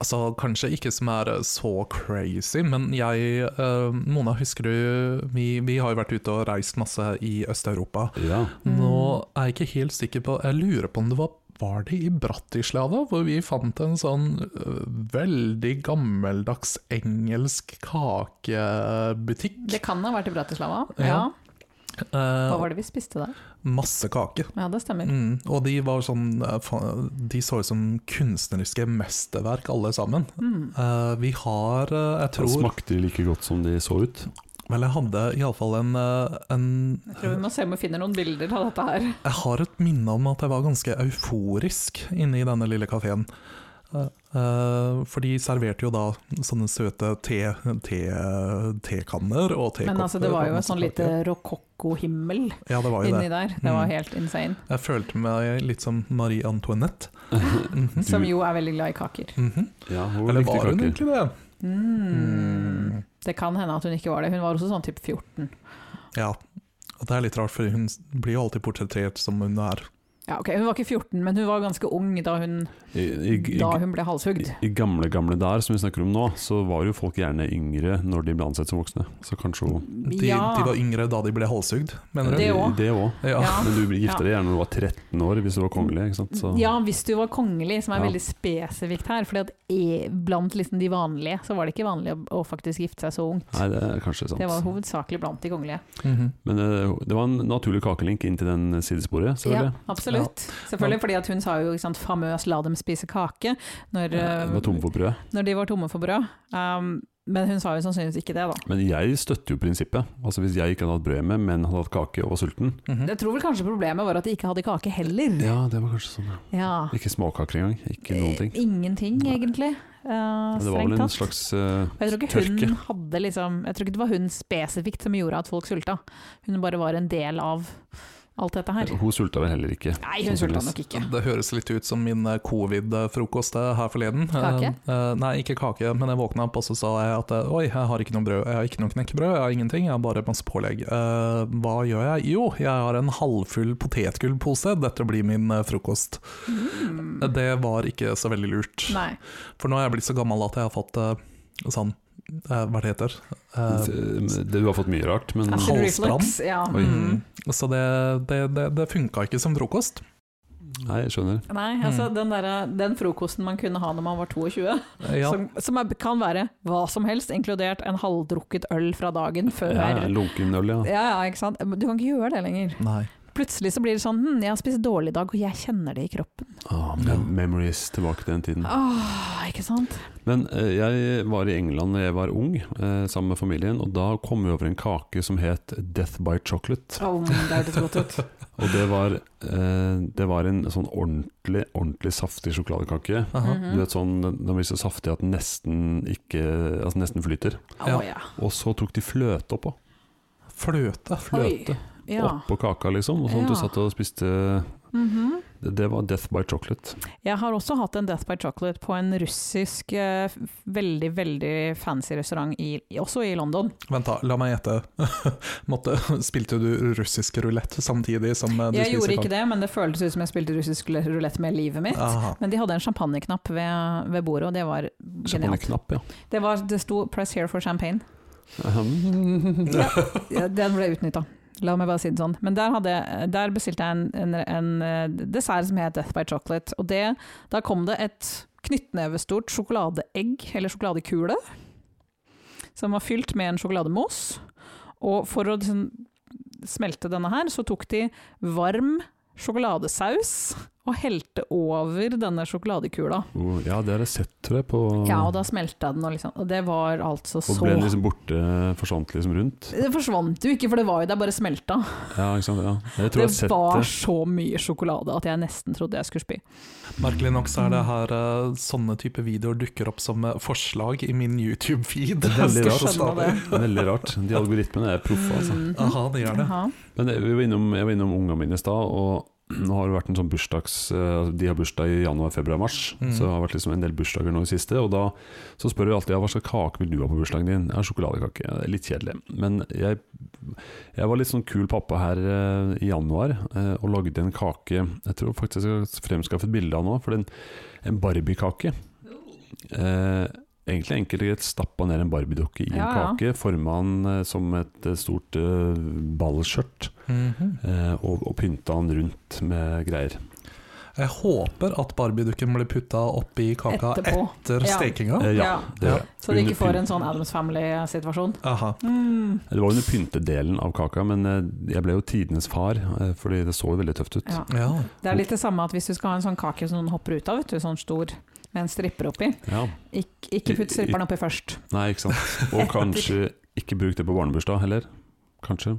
Speaker 3: Altså, kanskje ikke som er eh, så crazy, men jeg eh, Mona, husker du vi, vi har jo vært ute og reist masse i Øst-Europa.
Speaker 1: Ja.
Speaker 2: Mm.
Speaker 3: Nå er jeg ikke helt sikker på Jeg lurer på om det var var det i Bratislava, hvor vi fant en sånn øh, veldig gammeldags engelsk kakebutikk?
Speaker 2: Det kan ha vært i Bratislava. Ja.
Speaker 3: Ja.
Speaker 2: Hva
Speaker 3: Eh,
Speaker 2: var det vi spiste der?
Speaker 3: masse kake.
Speaker 2: Ja, det stemmer.
Speaker 3: Mm, og de var sånn eh, fa- De så ut som kunstneriske mesterverk, alle sammen.
Speaker 2: Mm.
Speaker 3: Eh, vi har, eh, jeg
Speaker 1: Det
Speaker 3: tror
Speaker 1: smakte like godt som de så ut.
Speaker 3: Vel, jeg hadde iallfall en, eh, en
Speaker 2: Jeg tror vi må se om vi finner noen bilder av dette her.
Speaker 3: Jeg har et minne om at jeg var ganske euforisk inne i denne lille kafeen. Eh, eh, For de serverte jo da sånne søte te, te, tekanner og tekopper.
Speaker 2: Men altså, det var
Speaker 3: og
Speaker 2: jo en
Speaker 3: masse
Speaker 2: sånn lite
Speaker 3: kake.
Speaker 2: rokokkohimmel
Speaker 3: Ja, det var jo
Speaker 2: inni
Speaker 3: det.
Speaker 2: der. Det var
Speaker 3: Mm.
Speaker 2: helt insane.
Speaker 3: Jeg følte meg litt som Marie Antoinette. Mhm.
Speaker 2: Som jo er veldig glad i kaker.
Speaker 3: Mhm.
Speaker 1: Ja, hun
Speaker 3: Eller
Speaker 1: likte
Speaker 3: var hun
Speaker 1: kaker.
Speaker 3: egentlig det?
Speaker 2: Mm.
Speaker 3: Mm.
Speaker 2: Det kan hende at hun ikke var det. Hun var også sånn type 14.
Speaker 3: Ja. Og det er litt rart, for hun blir jo alltid portrettert som hun er.
Speaker 2: Ja, ok, Hun var ikke 14, men hun var ganske ung da hun,
Speaker 1: I, i, i,
Speaker 2: da hun ble halshugd.
Speaker 1: I gamle, gamle der, som vi snakker om nå, så var jo folk gjerne yngre når de ble ansett som voksne. Så kanskje hun
Speaker 3: De, de var yngre da de ble halshugd, mener du?
Speaker 2: Det også.
Speaker 1: Det også.
Speaker 3: Ja.
Speaker 2: Ja.
Speaker 1: Men du gifta deg gjerne når du var 13 år, hvis du var kongelig. ikke sant? Så,
Speaker 2: Ja, hvis du var kongelig, som er
Speaker 1: Ja.
Speaker 2: veldig spesifikt her. Fordi at e, blant liksom de vanlige, så var det ikke vanlig å, å faktisk gifte seg så ungt.
Speaker 1: Nei, det er kanskje sant.
Speaker 2: Det var hovedsakelig blant de kongelige.
Speaker 3: Mhm.
Speaker 1: Men eh, det var en naturlig kakelink inn til den sidesporet,
Speaker 2: Ja,
Speaker 1: selvfølgelig.
Speaker 2: absolutt. Selvfølgelig, fordi at hun sa jo ikke sant, famøs 'la dem spise kake' når,
Speaker 1: Ja.
Speaker 2: eh,
Speaker 1: var tom for brød.
Speaker 2: når de var tomme for brød. Um, Men hun sa jo sannsynligvis ikke det, da.
Speaker 1: Men jeg støtter jo prinsippet. Altså Hvis jeg ikke hadde hatt brød med, men hadde hatt kake og var sulten
Speaker 3: Mhm.
Speaker 2: Jeg tror vel kanskje problemet var at de ikke hadde kake heller.
Speaker 1: Ja, det var kanskje sånn, ja.
Speaker 2: Ja.
Speaker 1: Ikke småkaker engang. Ikke noen ting.
Speaker 2: Eh, Ingenting,
Speaker 1: Nei.
Speaker 2: egentlig. eh,
Speaker 1: Men det var
Speaker 2: strengt
Speaker 1: vel en
Speaker 2: tatt.
Speaker 1: slags eh,
Speaker 2: Og jeg tror ikke hun
Speaker 1: tørke.
Speaker 2: hadde liksom Jeg tror ikke det var hun spesifikt som gjorde at folk sulta. Hun bare var en del av alt dette her.
Speaker 1: Hun sulta vel heller ikke.
Speaker 2: Nei, hun sulta nok ikke.
Speaker 3: Det høres litt ut som min eh, covid-frokost eh, her forleden.
Speaker 2: Kake?
Speaker 3: Eh, eh, nei, ikke kake, men jeg våkna opp og så sa jeg at eh, oi, jeg har ikke noe brød, jeg har ikke noe knekkebrød, jeg har ingenting, jeg har bare masse pålegg. Eh, hva gjør jeg? Jo, jeg har en halvfull potetgullpose, dette blir min eh, frokost. Eh, Det var ikke så veldig lurt.
Speaker 2: Mm. Nei.
Speaker 3: For nå er jeg blitt så gammel at jeg har fått eh, sånn, eh, hva det heter? Eh,
Speaker 1: Det- Du har fått mye rart, men
Speaker 3: Acid halsbrann?
Speaker 2: reflux, Altså, Ja.
Speaker 1: Mm. Oi.
Speaker 2: Mm.
Speaker 3: Så det, det, det, det funka ikke som frokost.
Speaker 1: Nei, jeg skjønner.
Speaker 2: Nei, altså den, derre- den frokosten man kunne ha når man var 22,
Speaker 3: Eh, Ja,
Speaker 2: som, som er, kan være hva som helst, inkludert en halvdrukket øl fra dagen før.
Speaker 1: Ja, ja, Lunkenøl, ja.
Speaker 2: Ja, ja, ikke sant. Men Du kan ikke gjøre det lenger.
Speaker 3: nei.
Speaker 2: Plutselig så blir det sånn hm, jeg har spist dårlig i dag, og jeg kjenner det i kroppen.
Speaker 1: Ah, mem memories tilbake til den tiden.
Speaker 2: Åh, ikke sant?
Speaker 1: Men eh, jeg var i England da jeg var ung, eh, sammen med familien, og da kom vi over en kake som het Death by Chocolate.
Speaker 2: Åh, det hørtes godt ut.
Speaker 1: Og det var, eh, det var en sånn ordentlig, ordentlig saftig sjokoladekake.
Speaker 3: Aha.
Speaker 2: Mhm.
Speaker 1: Du vet sånn, den den blir så saftig at den nesten, ikke, altså nesten flyter.
Speaker 2: Åh, ja.
Speaker 1: Og så tok de fløte oppå.
Speaker 3: Fløte.
Speaker 1: Fløte
Speaker 2: Oi, ja.
Speaker 1: oppå kaka, liksom. Og sånn at du
Speaker 2: Ja.
Speaker 1: satt og spiste
Speaker 2: Mhm.
Speaker 1: Det det var Death by Chocolate.
Speaker 2: Jeg har også hatt en Death by Chocolate på en russisk, eh, f- veldig, veldig fancy restaurant, i, også i London.
Speaker 3: Vent da, la meg gjette. Måtte, spilte du russisk rulett samtidig som eh, du
Speaker 2: Jeg gjorde ikke det, men det føltes ut som jeg spilte russisk rulett med livet mitt.
Speaker 3: Aha.
Speaker 2: Men de hadde en champagneknapp ved, ved bordet, og det var genialt.
Speaker 1: Champagneknapp, ja.
Speaker 2: Det, var, det sto 'press here for champagne'.
Speaker 1: Ahem.
Speaker 2: Ja, Den ble utnytta. La meg bare si det sånn. Men der, hadde, der bestilte jeg en, en, en eh, dessert som het Death by Chocolate. Og det, da kom det et knyttnevestort sjokoladeegg, eller sjokoladekule, som var fylt med en sjokolademos. Og for å liksom, smelte denne her, så tok de varm sjokoladesaus og helte over denne sjokoladekula.
Speaker 1: Oh, ja, det har jeg sett, tror jeg, på
Speaker 2: Ja, og da smelta den, og, liksom, og det var altså
Speaker 1: Og
Speaker 2: så
Speaker 1: ble den liksom borte, forsvant liksom rundt.
Speaker 2: Det forsvant jo ikke, for det var jo der bare smelta.
Speaker 1: Ja, ikke sant. Ja. Jeg tror jeg har
Speaker 2: det
Speaker 1: sett
Speaker 2: var
Speaker 1: det.
Speaker 2: så mye sjokolade at jeg nesten trodde jeg skulle spy.
Speaker 3: Merkelig nok så er det her eh, sånne type videoer dukker opp som eh, forslag i min YouTube-feed.
Speaker 1: er veldig
Speaker 2: Jeg
Speaker 1: rart.
Speaker 2: skal skjønne det.
Speaker 1: Veldig rart. De algoritmene er proffe, altså.
Speaker 2: Mm.
Speaker 3: Aha, det gjør det.
Speaker 2: Jaha.
Speaker 1: Men det- vi var innom, jeg var innom ungene mine i stad, og nå har det vært en sånn bursdags eh, De har bursdag i januar, februar, mars,
Speaker 3: Mm.
Speaker 1: så det har vært liksom en del bursdager nå i siste. Og da så spør jeg alltid ja, hva slags kake vil du ha på bursdagen din. Jeg har sjokoladekake. Ja, det er Litt kjedelig. Men jeg, jeg var litt sånn kul pappa her eh, i januar eh, og lagde en kake Jeg tror faktisk jeg skal fremskaffe et bilde av nå, for det er en- en Barbie-kake. Eh, Egentlig enkelt og greit stappa ned en Barbie-dukke i en
Speaker 2: Ja, ja.
Speaker 1: kake, forma den eh, som et eh, stort eh, ballskjørt.
Speaker 3: Mhm.
Speaker 1: Eh, og, og pynta han rundt med greier.
Speaker 3: Jeg håper at Barbie-dukken blir putta oppi kaka etter,
Speaker 2: Etterpå. Ja.
Speaker 3: stekinga.
Speaker 1: Eh, ja,
Speaker 2: Ja.
Speaker 1: det,
Speaker 3: Ja.
Speaker 2: Så du ikke
Speaker 1: Under
Speaker 2: får en
Speaker 1: pynt-
Speaker 2: sånn Adams Family-situasjon.
Speaker 3: Aha.
Speaker 2: Mm.
Speaker 1: Det var under pyntedelen av kaka, men eh, jeg ble jo tidenes far, eh, fordi det så jo veldig tøft ut.
Speaker 2: Ja.
Speaker 3: Ja.
Speaker 2: Det er litt det samme at hvis du skal ha en sånn kake som noen hopper ut av, vet du, sånn stor med en stripper oppi,
Speaker 1: Ja.
Speaker 2: ikke, ikke putt stripperen oppi først.
Speaker 1: Nei, ikke sant. Og kanskje ikke bruk det på barnebursdag heller. Kanskje.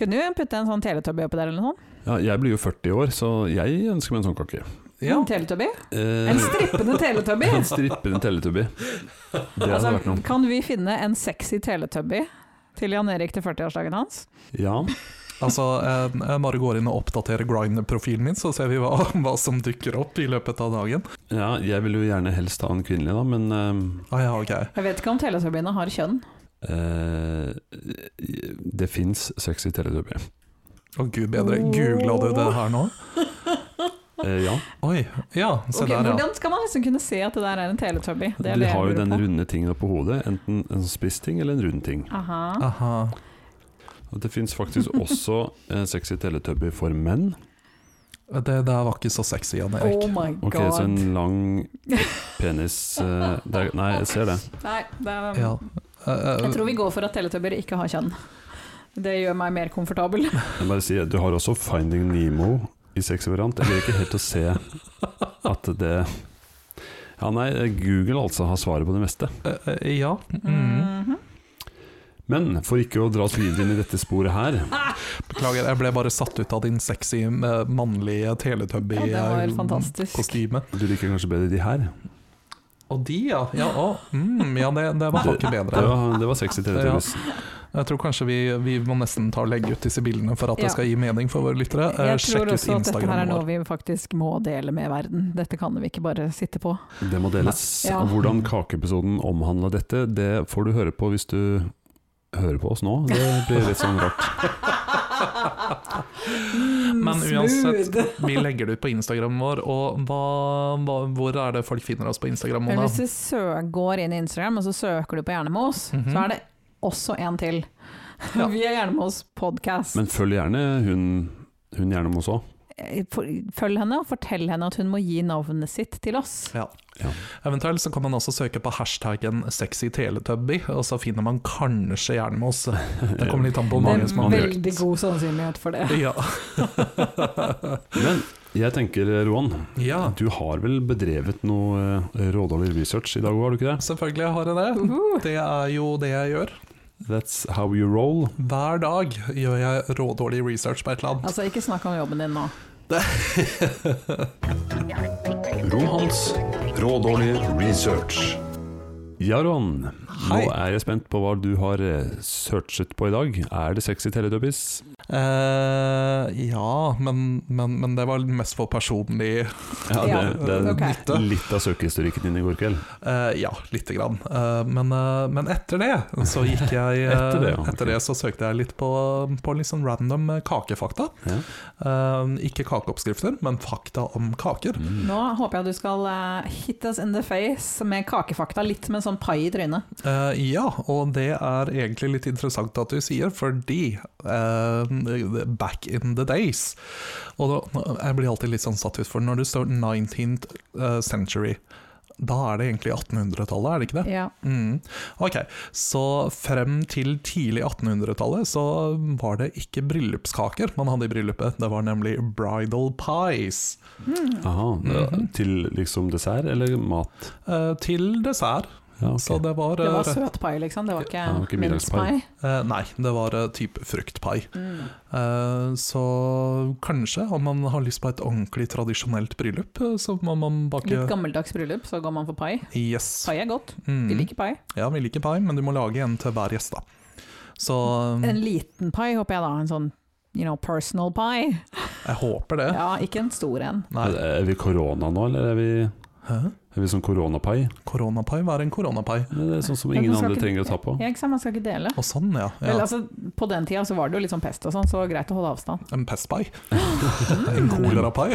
Speaker 2: Kunne jo putte en sånn teletubby oppi der eller noe sånt.
Speaker 1: Ja, jeg blir jo 40 år, så jeg ønsker meg en sånn kake.
Speaker 3: ja.
Speaker 2: En teletubby.
Speaker 1: Eh,
Speaker 2: En strippende teletubby!
Speaker 1: en strippende teletubby. Det hadde vært
Speaker 2: Altså,
Speaker 1: noe.
Speaker 2: kan vi finne en sexy teletubby til Jan Erik til 40-årsdagen hans?
Speaker 1: Ja,
Speaker 3: Altså, jeg, jeg bare går inn og oppdaterer Grind-profilen min, så ser vi hva, hva som dukker opp i løpet av dagen.
Speaker 1: ja, jeg vil jo gjerne helst ha en kvinnelig, da, men eh,
Speaker 3: Ah, ja, ok.
Speaker 2: Jeg vet ikke om teletubbyene har kjønn.
Speaker 1: eh, det fins sexy teletubby.
Speaker 3: Å gud bedre, googla du det her nå?
Speaker 1: Eh, ja.
Speaker 3: Oi, ja, se
Speaker 2: Ok,
Speaker 3: der ja.
Speaker 2: Hvordan skal man liksom kunne se at det der er en teletubby? Det er
Speaker 1: de
Speaker 2: det jeg
Speaker 1: har jo
Speaker 2: lurer
Speaker 1: den
Speaker 2: på.
Speaker 1: runde tingen på hodet, enten en sånn spiss ting eller en rund ting.
Speaker 2: Aha.
Speaker 3: Aha.
Speaker 1: Og det fins faktisk også eh, sexy teletubby for menn.
Speaker 3: Det der var ikke så sexy, Jan
Speaker 2: Oh
Speaker 3: Erik.
Speaker 2: my
Speaker 1: Ah, Ok,
Speaker 2: god.
Speaker 1: Så en lang penis eh, det er, Nei, jeg ser det.
Speaker 2: Nei, det er, um,
Speaker 3: Ja. Eh, eh,
Speaker 2: Jeg tror vi går for at teletubber ikke har kjønn. Det gjør meg mer komfortabel.
Speaker 1: Jeg bare sier, Du har også Finding Nemo i sexy variant. Jeg greier ikke helt å se at det Ja, nei, Google altså har svaret på det meste.
Speaker 3: Eh, eh, ja. Mm.
Speaker 2: Mhm.
Speaker 1: Men for ikke å dra oss videre inn i dette sporet her
Speaker 3: Beklager, jeg ble bare satt ut av din sexy eh, mannlige eh,
Speaker 2: Ja, det var helt fantastisk.
Speaker 3: teletubby-kostyme.
Speaker 1: Du liker kanskje bedre de her?
Speaker 3: Og de, ja. Ja, å, mm, ja det, det var
Speaker 1: Det
Speaker 3: hakket bedre.
Speaker 1: var, det var sexy TV-turis.
Speaker 3: Jeg tror kanskje vi, vi må nesten ta og legge ut disse bildene for at
Speaker 2: Ja.
Speaker 3: det skal gi mening for våre lyttere. Eh,
Speaker 2: Jeg
Speaker 3: Sjekk
Speaker 2: tror
Speaker 3: ut
Speaker 2: også at dette her er
Speaker 3: Instagram
Speaker 2: noe
Speaker 3: vår.
Speaker 2: vi faktisk må dele med verden. Dette kan vi ikke bare sitte på.
Speaker 1: Det må deles.
Speaker 2: Ja.
Speaker 1: Og Hvordan kakeepisoden omhandla dette, det får du høre på hvis du hører på oss nå. Det blir litt sånn rart.
Speaker 3: Men uansett, vi legger det ut på Instagram vår, og hva, hva, hvor er det folk finner oss på Instagram?
Speaker 2: Men
Speaker 3: Mona?
Speaker 2: Hvis du sø- går inn i Instagram og så søker du på Hjernemos,
Speaker 3: Mhm.
Speaker 2: så er det også en til.
Speaker 3: Ja.
Speaker 2: Vi er Hjernemos podkast.
Speaker 1: Men følg gjerne hun, hun gjerne med oss òg.
Speaker 2: eh, Følg henne og fortell henne at hun må gi navnet sitt til oss.
Speaker 3: Ja.
Speaker 1: Ja.
Speaker 3: Eventuelt så kan man også søke på hashtaggen 'sexy teletubby', og så finner man kanskje gjerne med oss. Det kommer litt an på hvor
Speaker 2: Det
Speaker 3: mange
Speaker 2: er
Speaker 3: som har
Speaker 1: Mange-
Speaker 2: veldig god sannsynlighet for det.
Speaker 3: Ja.
Speaker 1: Men jeg tenker, Roan,
Speaker 3: ja,
Speaker 1: du har vel bedrevet noe eh, rådårlig research i dag òg, har du ikke det?
Speaker 3: selvfølgelig har jeg det. Det er jo det jeg gjør.
Speaker 1: That's how you roll.
Speaker 3: Hver dag gjør jeg rådårlig research på et eller annet.
Speaker 2: Altså, ikke snakk om jobben din nå.
Speaker 1: Romhans rådårlig research. Ja, Roan. Nå
Speaker 3: Hei.
Speaker 1: er jeg spent på hva du har eh, searchet på i dag. Er det sexy teletubbies?
Speaker 3: Eh, ja, men, men, men det var mest for personlig
Speaker 1: Ja, det,
Speaker 2: Ja,
Speaker 1: det er
Speaker 2: ok.
Speaker 3: nytte.
Speaker 1: litt av søkehistorikken din i går kveld.
Speaker 3: Eh, ja, lite grann. Eh, men, eh, men etter det så gikk jeg eh,
Speaker 1: Etter det, ja, ok.
Speaker 3: etter det så søkte jeg litt på, på litt sånn random eh, kakefakta.
Speaker 1: Ja.
Speaker 3: Eh, ikke kakeoppskrifter, men fakta om kaker.
Speaker 2: Nå håper jeg du skal eh, hit us in the face med kakefakta, litt med en sånn pai i trynet.
Speaker 3: Eh, ja, og det er egentlig litt interessant at du sier, fordi eh, back in the days Og da, jeg blir alltid litt sånn satt ut for når det står 19th eh, century. Da er det egentlig 1800-tallet, er det ikke det?
Speaker 2: Ja.
Speaker 3: Mm. Ok, så frem til tidlig 1800-tallet så var det ikke bryllupskaker man hadde i bryllupet, det var nemlig bridal pies.
Speaker 1: Aha, Til liksom dessert eller mat?
Speaker 3: eh, Til dessert,
Speaker 1: Ja, ok.
Speaker 3: så det var,
Speaker 2: Det var
Speaker 3: eh,
Speaker 2: søt pai, liksom. Det var ikke,
Speaker 1: Ja, det var ikke middagspai.
Speaker 2: minuspai.
Speaker 3: eh, Nei, det var eh, typ fruktpai.
Speaker 2: Mm.
Speaker 3: Eh, Så kanskje, om man har lyst på et ordentlig tradisjonelt bryllup, eh, så må man
Speaker 2: Litt
Speaker 3: bake
Speaker 2: gammeldags bryllup, så går man for pai.
Speaker 3: Yes.
Speaker 2: Pai er godt. De
Speaker 3: Mm.
Speaker 2: liker pai.
Speaker 3: Ja, vi liker pai, men du må lage en til hver gjest, da. Så mm,
Speaker 2: En liten pai, håper jeg da. En sånn you know, personal pai.
Speaker 3: jeg håper det.
Speaker 2: Ja, ikke en stor en.
Speaker 3: Nei.
Speaker 1: Er vi korona nå, eller er vi,
Speaker 3: Hæ?
Speaker 1: er vi sånn koronapai?
Speaker 3: Koronapai, hva er en koronapai?
Speaker 1: Det er sånn som
Speaker 2: Ja,
Speaker 1: ingen
Speaker 2: man skal
Speaker 1: andre
Speaker 2: ikke-
Speaker 1: trenger å ta på.
Speaker 2: Ja, ikke sant, man skal ikke dele.
Speaker 3: Å, sånn, ja. ja.
Speaker 2: Vel, altså, på den tida så var det jo litt sånn pest og sånn, så det var greit å holde avstand.
Speaker 3: En pestpai. en kolerapai.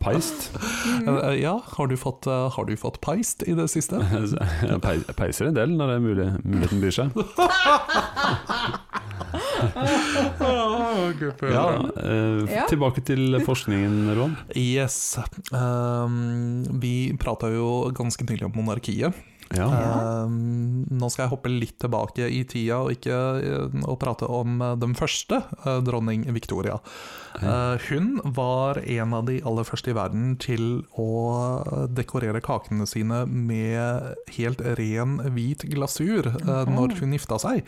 Speaker 1: Peist?
Speaker 2: Mm.
Speaker 3: Eh, ja, har du, fått, eh, har du fått peist i det siste?
Speaker 1: Jeg pei- Peiser en del når det er mulig, muligheten byr seg. Ja, eh,
Speaker 2: Ja.
Speaker 1: Tilbake til forskningen, Roan.
Speaker 3: Yes. Ehm, vi prata jo ganske nylig om monarkiet.
Speaker 1: Ja.
Speaker 3: Ehm, nå skal jeg hoppe litt tilbake i tida og ikke eh, og prate om eh, den første, eh, dronning Victoria. Eh, hun var en av de aller første i verden til å eh, dekorere kakene sine med helt ren hvit glasur eh, når hun gifta seg.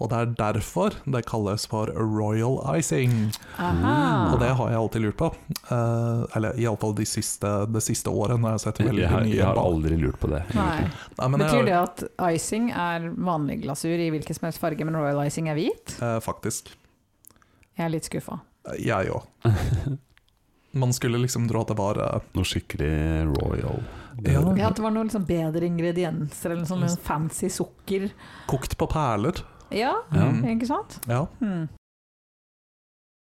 Speaker 3: Og det er derfor det kalles for royal icing.
Speaker 2: Aha.
Speaker 3: Mm,
Speaker 1: Ah.
Speaker 3: Og det har jeg alltid lurt på. Eh, eller iallfall det siste, de siste året, når jeg har sett veldig
Speaker 1: Jeg har,
Speaker 3: mye
Speaker 1: jeg har
Speaker 3: bak-
Speaker 1: aldri lurt på det.
Speaker 2: Nei.
Speaker 1: egentlig.
Speaker 3: Nei, men jeg
Speaker 2: Betyr det
Speaker 3: har-
Speaker 2: at icing er vanlig glasur i hvilken som helst farge, men royal icing er hvit?
Speaker 3: Eh, faktisk.
Speaker 2: Jeg er litt skuffa.
Speaker 3: Eh, Jeg òg. Man skulle liksom tro at det var eh,
Speaker 1: Noe skikkelig royal.
Speaker 3: Ja.
Speaker 2: Ja, at det var noe liksom bedre ingredienser, eller noe sånn liksom fancy sukker.
Speaker 3: kokt på perler. Mm,
Speaker 2: Ja,
Speaker 1: Ja.
Speaker 2: ikke sant?
Speaker 3: Ja.
Speaker 2: Hmm.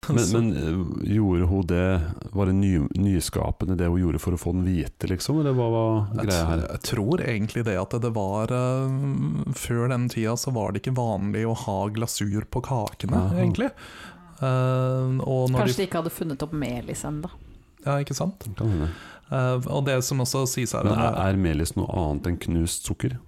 Speaker 1: Men,
Speaker 3: Altså.
Speaker 1: men eh, gjorde hun det Var det ny, nyskapende det hun gjorde for å få den hvite, liksom? Eller hva var
Speaker 3: Jeg
Speaker 1: greia
Speaker 3: tr-
Speaker 1: her?
Speaker 3: Jeg tror egentlig det at det var eh, Før den tida så var det ikke vanlig å ha glasur på kakene,
Speaker 1: Aha.
Speaker 3: egentlig. Eh, og når
Speaker 2: Kanskje
Speaker 3: de,
Speaker 2: de ikke hadde funnet opp melis ennå.
Speaker 3: ja, ikke sant?
Speaker 1: Kan hende.
Speaker 3: Eh, og det som også sies her eh,
Speaker 1: Men er, er melis noe annet enn knust sukker?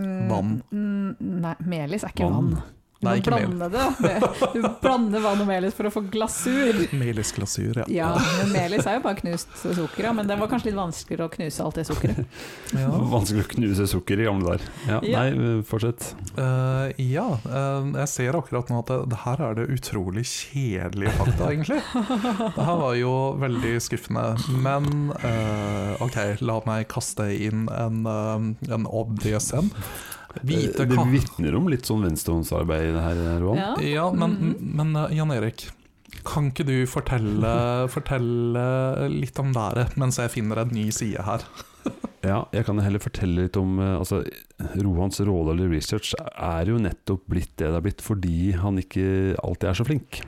Speaker 2: Mm,
Speaker 3: Vann.
Speaker 2: Mm, nei, melis er ikke vann. Du må
Speaker 3: Nei, ikke mel.
Speaker 2: blande det. Du blander vann og melis for å få glasur.
Speaker 3: Melisk glasur, ja.
Speaker 2: Ja, men melis er jo bare knust sukker, ja, men det var kanskje litt vanskeligere å knuse alt det sukkeret.
Speaker 3: Ja.
Speaker 1: Vanskelig å knuse sukker i gamle der. Ja,
Speaker 2: Ja.
Speaker 1: Nei, eh, fortsett.
Speaker 3: Eh, ja, eh, jeg ser akkurat nå at det, det her er det utrolig kjedelige fakta, egentlig. Det her var jo veldig skuffende. Men eh, OK, la meg kaste inn en, eh, en obvious en. Hvite
Speaker 1: Eh, det
Speaker 3: katter
Speaker 1: vitner om litt sånn venstrehåndsarbeid i det her, eh, Roan.
Speaker 2: Ja.
Speaker 3: Ja, men,
Speaker 2: Mhm.
Speaker 3: men eh, Jan Erik, kan ikke du fortelle, fortelle litt om været mens jeg finner en ny side her?
Speaker 1: Ja, jeg kan heller fortelle litt om eh, altså, Rohans rolle eller research er jo nettopp blitt det det er blitt fordi han ikke alltid er så flink.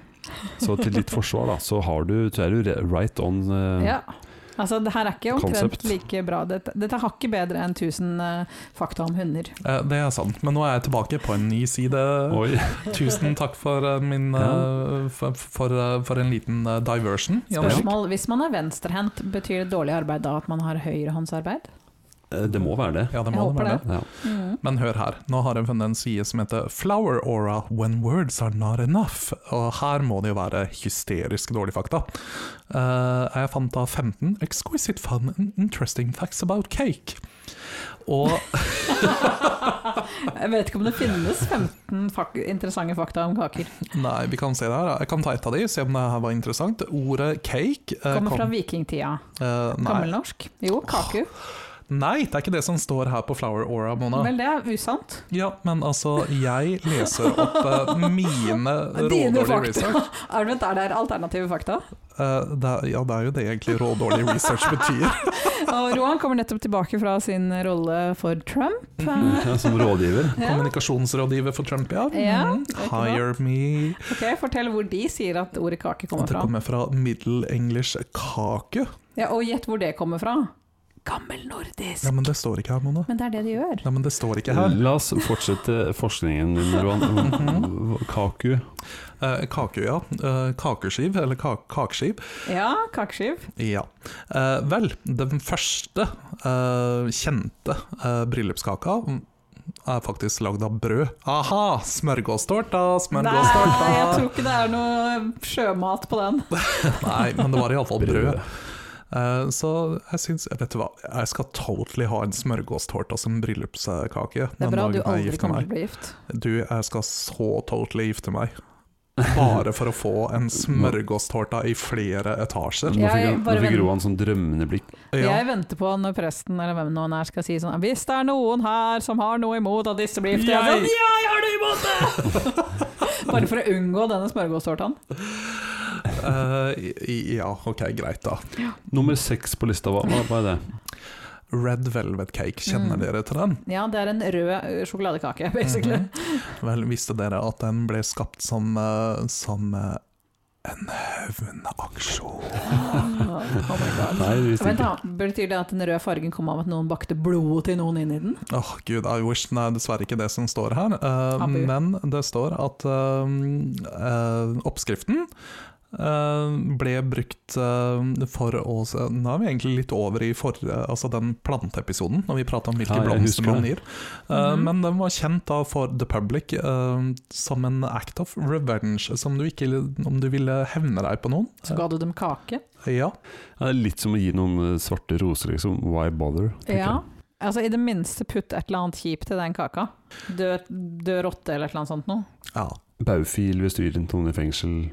Speaker 1: Så til ditt forsvar, da, så, har du, så er du re- right on eh,
Speaker 2: Ja. Altså, det her er ikke omtrent
Speaker 1: Konsept.
Speaker 2: like bra. Dette, dette er hakket bedre enn 1000 eh, fakta om hunder.
Speaker 3: Eh, Det er sant, men nå er jeg tilbake på en ny side.
Speaker 1: Oi.
Speaker 3: Tusen takk for, eh, min, eh, for, for, eh, for en liten eh, diversion. Jan Erik.
Speaker 2: Spørsmål. Hvis man er venstrehendt, betyr det dårlig arbeid da at man har høyrehåndsarbeid?
Speaker 1: Eh, Det må være det.
Speaker 3: Ja, det
Speaker 2: Jeg
Speaker 3: må det
Speaker 2: håper det.
Speaker 3: være det.
Speaker 1: Ja.
Speaker 2: Mm.
Speaker 3: Men hør her, nå har jeg funnet en side som heter Flower Aura When Words Are Not Enough. Og her må det jo være hysterisk dårlig fakta. Eh, jeg fant da 15 exquisite fun and interesting facts about cake. Og
Speaker 2: Jeg vet ikke om det finnes 15 fak interessante fakta om kaker.
Speaker 3: nei, vi kan se det her. da. Jeg kan ta et av de, se om det her var interessant. Ordet cake eh,
Speaker 2: Kommer fra
Speaker 3: kom-
Speaker 2: vikingtida.
Speaker 3: eh, nei.
Speaker 2: Gammelnorsk. Jo, kaku.
Speaker 3: nei, det er ikke det som står her på Flower Aura, Mona.
Speaker 2: Vel, det er usant.
Speaker 3: Ja, men altså, jeg leser opp eh, mine
Speaker 2: Dine
Speaker 3: rådårlige
Speaker 2: fakta.
Speaker 3: research.
Speaker 2: Er det, er det her alternative fakta?
Speaker 3: Eh, det er, ja, det er jo det egentlig rådårlig research betyr.
Speaker 2: Og Rohan kommer nettopp tilbake fra sin rolle for Trump.
Speaker 3: Mhm.
Speaker 1: Ja, som rådgiver.
Speaker 2: Ja,
Speaker 3: Kommunikasjonsrådgiver for Trump, ja.
Speaker 2: Ja,
Speaker 3: Mm,
Speaker 2: det er ikke
Speaker 3: Hire me.
Speaker 2: ok, Fortell hvor de sier at ordet kake kommer
Speaker 3: At det
Speaker 2: fra.
Speaker 3: kommer fra middle english kake.
Speaker 2: Ja, og gjett hvor det kommer fra. Gammelnordisk.
Speaker 3: Ja, men det står ikke her, Mona.
Speaker 2: Men det er det de gjør.
Speaker 3: Nei, men det står ikke her. Mhm.
Speaker 1: La oss fortsette forskningen din, Roan. Kaku.
Speaker 3: Eh, kake, ja. Eh, kakeskiv, eller ka kakeskiv.
Speaker 2: Ja, kakeskiv.
Speaker 3: Ja. Eh, vel, den første eh, kjente eh, bryllupskaka er faktisk lagd av brød. Aha! Smørgåstårta,
Speaker 2: Nei,
Speaker 3: smørgåstårta!
Speaker 2: jeg tror ikke det er noe sjømat på den.
Speaker 3: Nei, men det var iallfall brød. Eh, Så jeg syns Vet du hva, jeg skal totally ha en smørgåstårta som bryllupskake.
Speaker 2: Det
Speaker 3: den
Speaker 2: er bra
Speaker 3: dagen
Speaker 2: du
Speaker 3: jeg
Speaker 2: aldri
Speaker 3: gifter
Speaker 2: kommer
Speaker 3: meg.
Speaker 2: til å bli gift.
Speaker 3: Du, jeg skal så totally gifte meg. Bare for å få en smørgåstårta i flere etasjer.
Speaker 1: Nå
Speaker 2: Jeg
Speaker 1: fikk, nå
Speaker 2: bare
Speaker 1: fikk
Speaker 2: vent-
Speaker 1: Roan sånn drømmende blikk.
Speaker 3: Ja,
Speaker 2: Jeg venter på når presten eller hvem noen er skal si sånn Hvis det er noen her som har noe imot at disse blir gifte, jeg, er
Speaker 3: Jeg-
Speaker 2: sånn, jeg har noe imot det! Bare for å unngå denne smørgåstårtaen.
Speaker 3: eh, i- ja ok, greit, da.
Speaker 1: Nummer seks på lista, hva hva- hva er det?
Speaker 3: Red velvet cake, kjenner
Speaker 2: Mm.
Speaker 3: dere til den?
Speaker 2: Ja, det er en rød ø, sjokoladekake, basically.
Speaker 3: Mhm. Vel, visste dere at den ble skapt som, eh, som eh, en hevnaksjon?
Speaker 2: oh my god.
Speaker 1: Nei, visst ikke.
Speaker 2: Vent da, Betyr det at den røde fargen kom av at noen bakte blodet til noen inn i den?
Speaker 3: Åh, gud, I wish. Nei, dessverre ikke det som står her. eh,
Speaker 2: Abu.
Speaker 3: men det står at eh, eh, oppskriften eh, ble brukt eh, for å se- Nå er vi egentlig litt over i forrige, altså den planteepisoden, når vi prata om hvilke
Speaker 1: Ja, jeg husker
Speaker 3: blomster man
Speaker 1: det.
Speaker 3: gir. Eh,
Speaker 2: Mhm.
Speaker 3: Men den var kjent da for the public eh, som en act of revenge, som du ikke Om du ville hevne deg på noen.
Speaker 2: Så ga du dem kake?
Speaker 3: Eh, ja.
Speaker 1: Ja, det er litt som å gi noen eh, svarte roser, liksom. Why bother? tenker
Speaker 2: Ja. Altså, i det minste putt et eller annet kjipt til den kaka. Død, død rotte eller et eller annet sånt noe.
Speaker 3: ja.
Speaker 1: jeg. Baufil hvis du gir en tone i fengsel.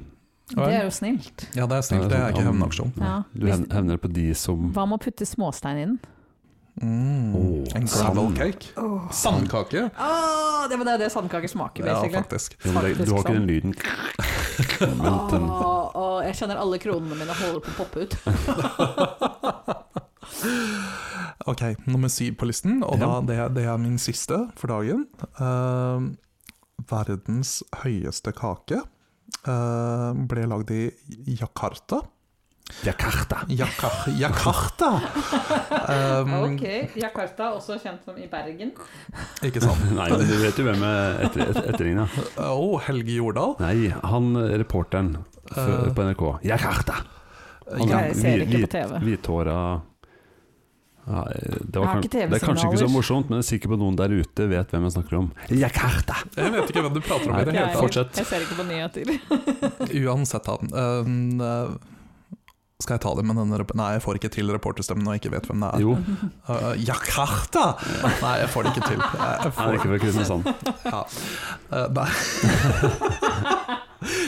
Speaker 2: Det er jo snilt.
Speaker 3: Ja, det er snilt. Det er ikke hevnaksjon.
Speaker 1: Nei,
Speaker 2: Ja.
Speaker 1: Du
Speaker 2: Hvis-
Speaker 1: hev- hevner det på de som
Speaker 2: Hva med å putte småstein i den?
Speaker 3: Mm.
Speaker 1: Åh,
Speaker 3: en
Speaker 1: sand.
Speaker 3: gravel cake. Sandkake.
Speaker 2: Åh, det, men det er det sandkaker smaker,
Speaker 3: Ja,
Speaker 2: basically.
Speaker 3: faktisk.
Speaker 1: Jo, men det, Du har ikke den lyden. Men den,
Speaker 2: Åh, åh, jeg kjenner alle kronene mine holder på å poppe ut.
Speaker 3: Ok, nummer syv på listen, og da,
Speaker 1: Ja.
Speaker 3: det, det er min siste for dagen. Ehm, verdens høyeste kake eh, ble lagd i Jakarta.
Speaker 1: Jakarta!
Speaker 3: Jaka Jakarta!
Speaker 1: Mm.
Speaker 3: Ehm,
Speaker 2: Ok, Jakarta, også kjent som i Bergen.
Speaker 3: Ikke sant?
Speaker 1: Nei, men du vet jo hvem jeg etter, etter, etterligna.
Speaker 3: Å, Helge Jordal.
Speaker 1: Nei, han eh, reporteren f-
Speaker 3: Eh.
Speaker 1: på NRK. Jakarta! Han
Speaker 3: Ja,
Speaker 1: er
Speaker 2: Eh, Jeg ser
Speaker 1: hvit-
Speaker 2: ikke på TV.
Speaker 1: Hvithåra Ja, eh, det,
Speaker 2: Jeg
Speaker 1: var
Speaker 2: har
Speaker 1: kan,
Speaker 2: ikke
Speaker 1: det er kanskje ikke så
Speaker 2: TV-signaler.
Speaker 1: morsomt, men jeg er sikker på at noen der ute vet hvem jeg snakker om. Jakarta!
Speaker 3: Jeg vet ikke hva du prater om
Speaker 1: Nei,
Speaker 3: i det hele
Speaker 1: jeg-
Speaker 3: tatt.
Speaker 1: fortsett.
Speaker 2: Jeg ser ikke på nyheter.
Speaker 3: Uansett, da. øhm, øh, skal jeg ta det med den rep- Nei, jeg får ikke til reporterstemmen når jeg ikke vet hvem det er.
Speaker 1: Jo,
Speaker 3: Øh, Jakarta! Nei, jeg får det ikke til. Jeg, jeg
Speaker 1: han er
Speaker 3: får,
Speaker 1: ikke fra Kristiansand.
Speaker 3: ja. Øh, nei.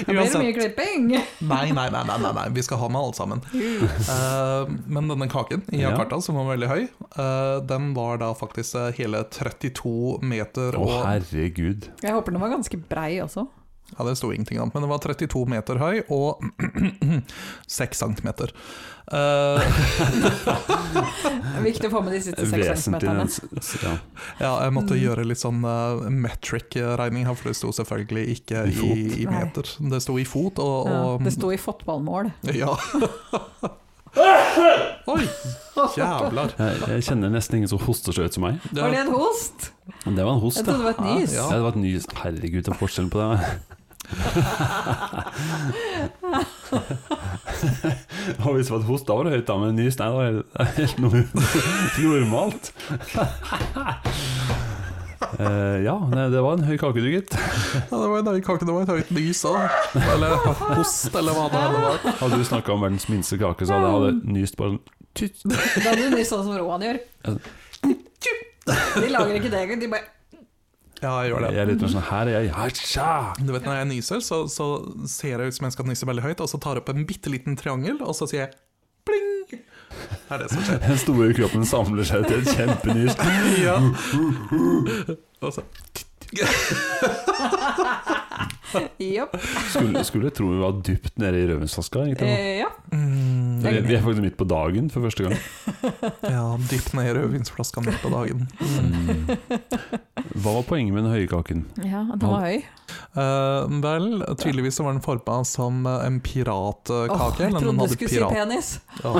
Speaker 2: Da blir det mye klipping!
Speaker 3: Nei, nei, nei, nei, nei, nei, vi skal ha med alle sammen. Eh, men denne kaken i
Speaker 1: Ja.
Speaker 3: Jakarta, som var veldig høy, eh, den var da faktisk eh, hele 32 meter
Speaker 1: Å,
Speaker 3: og
Speaker 1: herregud.
Speaker 2: Jeg håper den var ganske brei også.
Speaker 3: Ja, det sto ingenting om, men den var 32 meter høy og 6 centimeter. Eh,
Speaker 2: Viktig å få med de siste seks
Speaker 1: Vesentlig.
Speaker 2: centimeterne.
Speaker 1: Ja.
Speaker 3: ja, jeg måtte
Speaker 2: Mm.
Speaker 3: gjøre litt sånn eh, metric-regning her, for det sto selvfølgelig ikke
Speaker 1: I
Speaker 3: i,
Speaker 1: fot.
Speaker 3: i
Speaker 2: Nei.
Speaker 3: meter. Det sto i fot, og,
Speaker 2: Ja,
Speaker 3: og
Speaker 2: det sto i fotballmål.
Speaker 3: Ja. Oi, jævlar.
Speaker 1: Jeg, jeg kjenner nesten ingen som hoster så høyt som meg.
Speaker 2: Var det en host?
Speaker 1: Men det var en host,
Speaker 2: Jeg
Speaker 1: da.
Speaker 2: trodde det var et
Speaker 3: Ja,
Speaker 2: nys.
Speaker 1: Ja,
Speaker 3: ja.
Speaker 1: det var et nys. Herregud, det er forskjell på det. Og hvis det var et host, da var det høyt, da, men nys, nei, det var helt- helt no- normalt. Eh, ja, nei, det var en høy kake, du, gitt.
Speaker 3: Ja, det var en høy kake, det var et høyt nys òg. Eller host, eller hva det nå var.
Speaker 1: Hadde du snakka om verdens minste kake, så hadde jeg hadde nyst bare sånn tytt.
Speaker 2: Da hadde du nys sånn som Roan gjør. De lager ikke det engang, de bare
Speaker 3: Ja, jeg gjør
Speaker 1: Jeg
Speaker 3: det.
Speaker 1: er litt mer sånn Her er jeg. Hatsja!
Speaker 3: Du vet Når jeg nyser, så, så ser jeg ut som jeg skal nyse veldig høyt, og så tar jeg opp en bitte liten triangel, og så sier jeg pling! Det er det som skjer.
Speaker 1: Den store kroppen samler seg til et kjempenys.
Speaker 3: Ja. Og så
Speaker 2: Jopp.
Speaker 1: Skulle, skulle tro vi var dypt nede i rødvinsflaska. egentlig, nå.
Speaker 2: Eh, ja.
Speaker 3: mm,
Speaker 1: Vi vi er faktisk midt på dagen for første gang.
Speaker 3: Ja, dypt ned i rødvinsflaska midt på dagen. Mm.
Speaker 1: Hva var poenget med den høye kaken?
Speaker 2: ja, den var høy.
Speaker 3: Eh, vel, tydeligvis så var den forma som eh, en
Speaker 2: Åh,
Speaker 3: piratkake.
Speaker 2: jeg
Speaker 3: eller den
Speaker 2: trodde du
Speaker 3: hadde
Speaker 2: skulle si
Speaker 3: pirat-
Speaker 2: penis.
Speaker 3: Ja.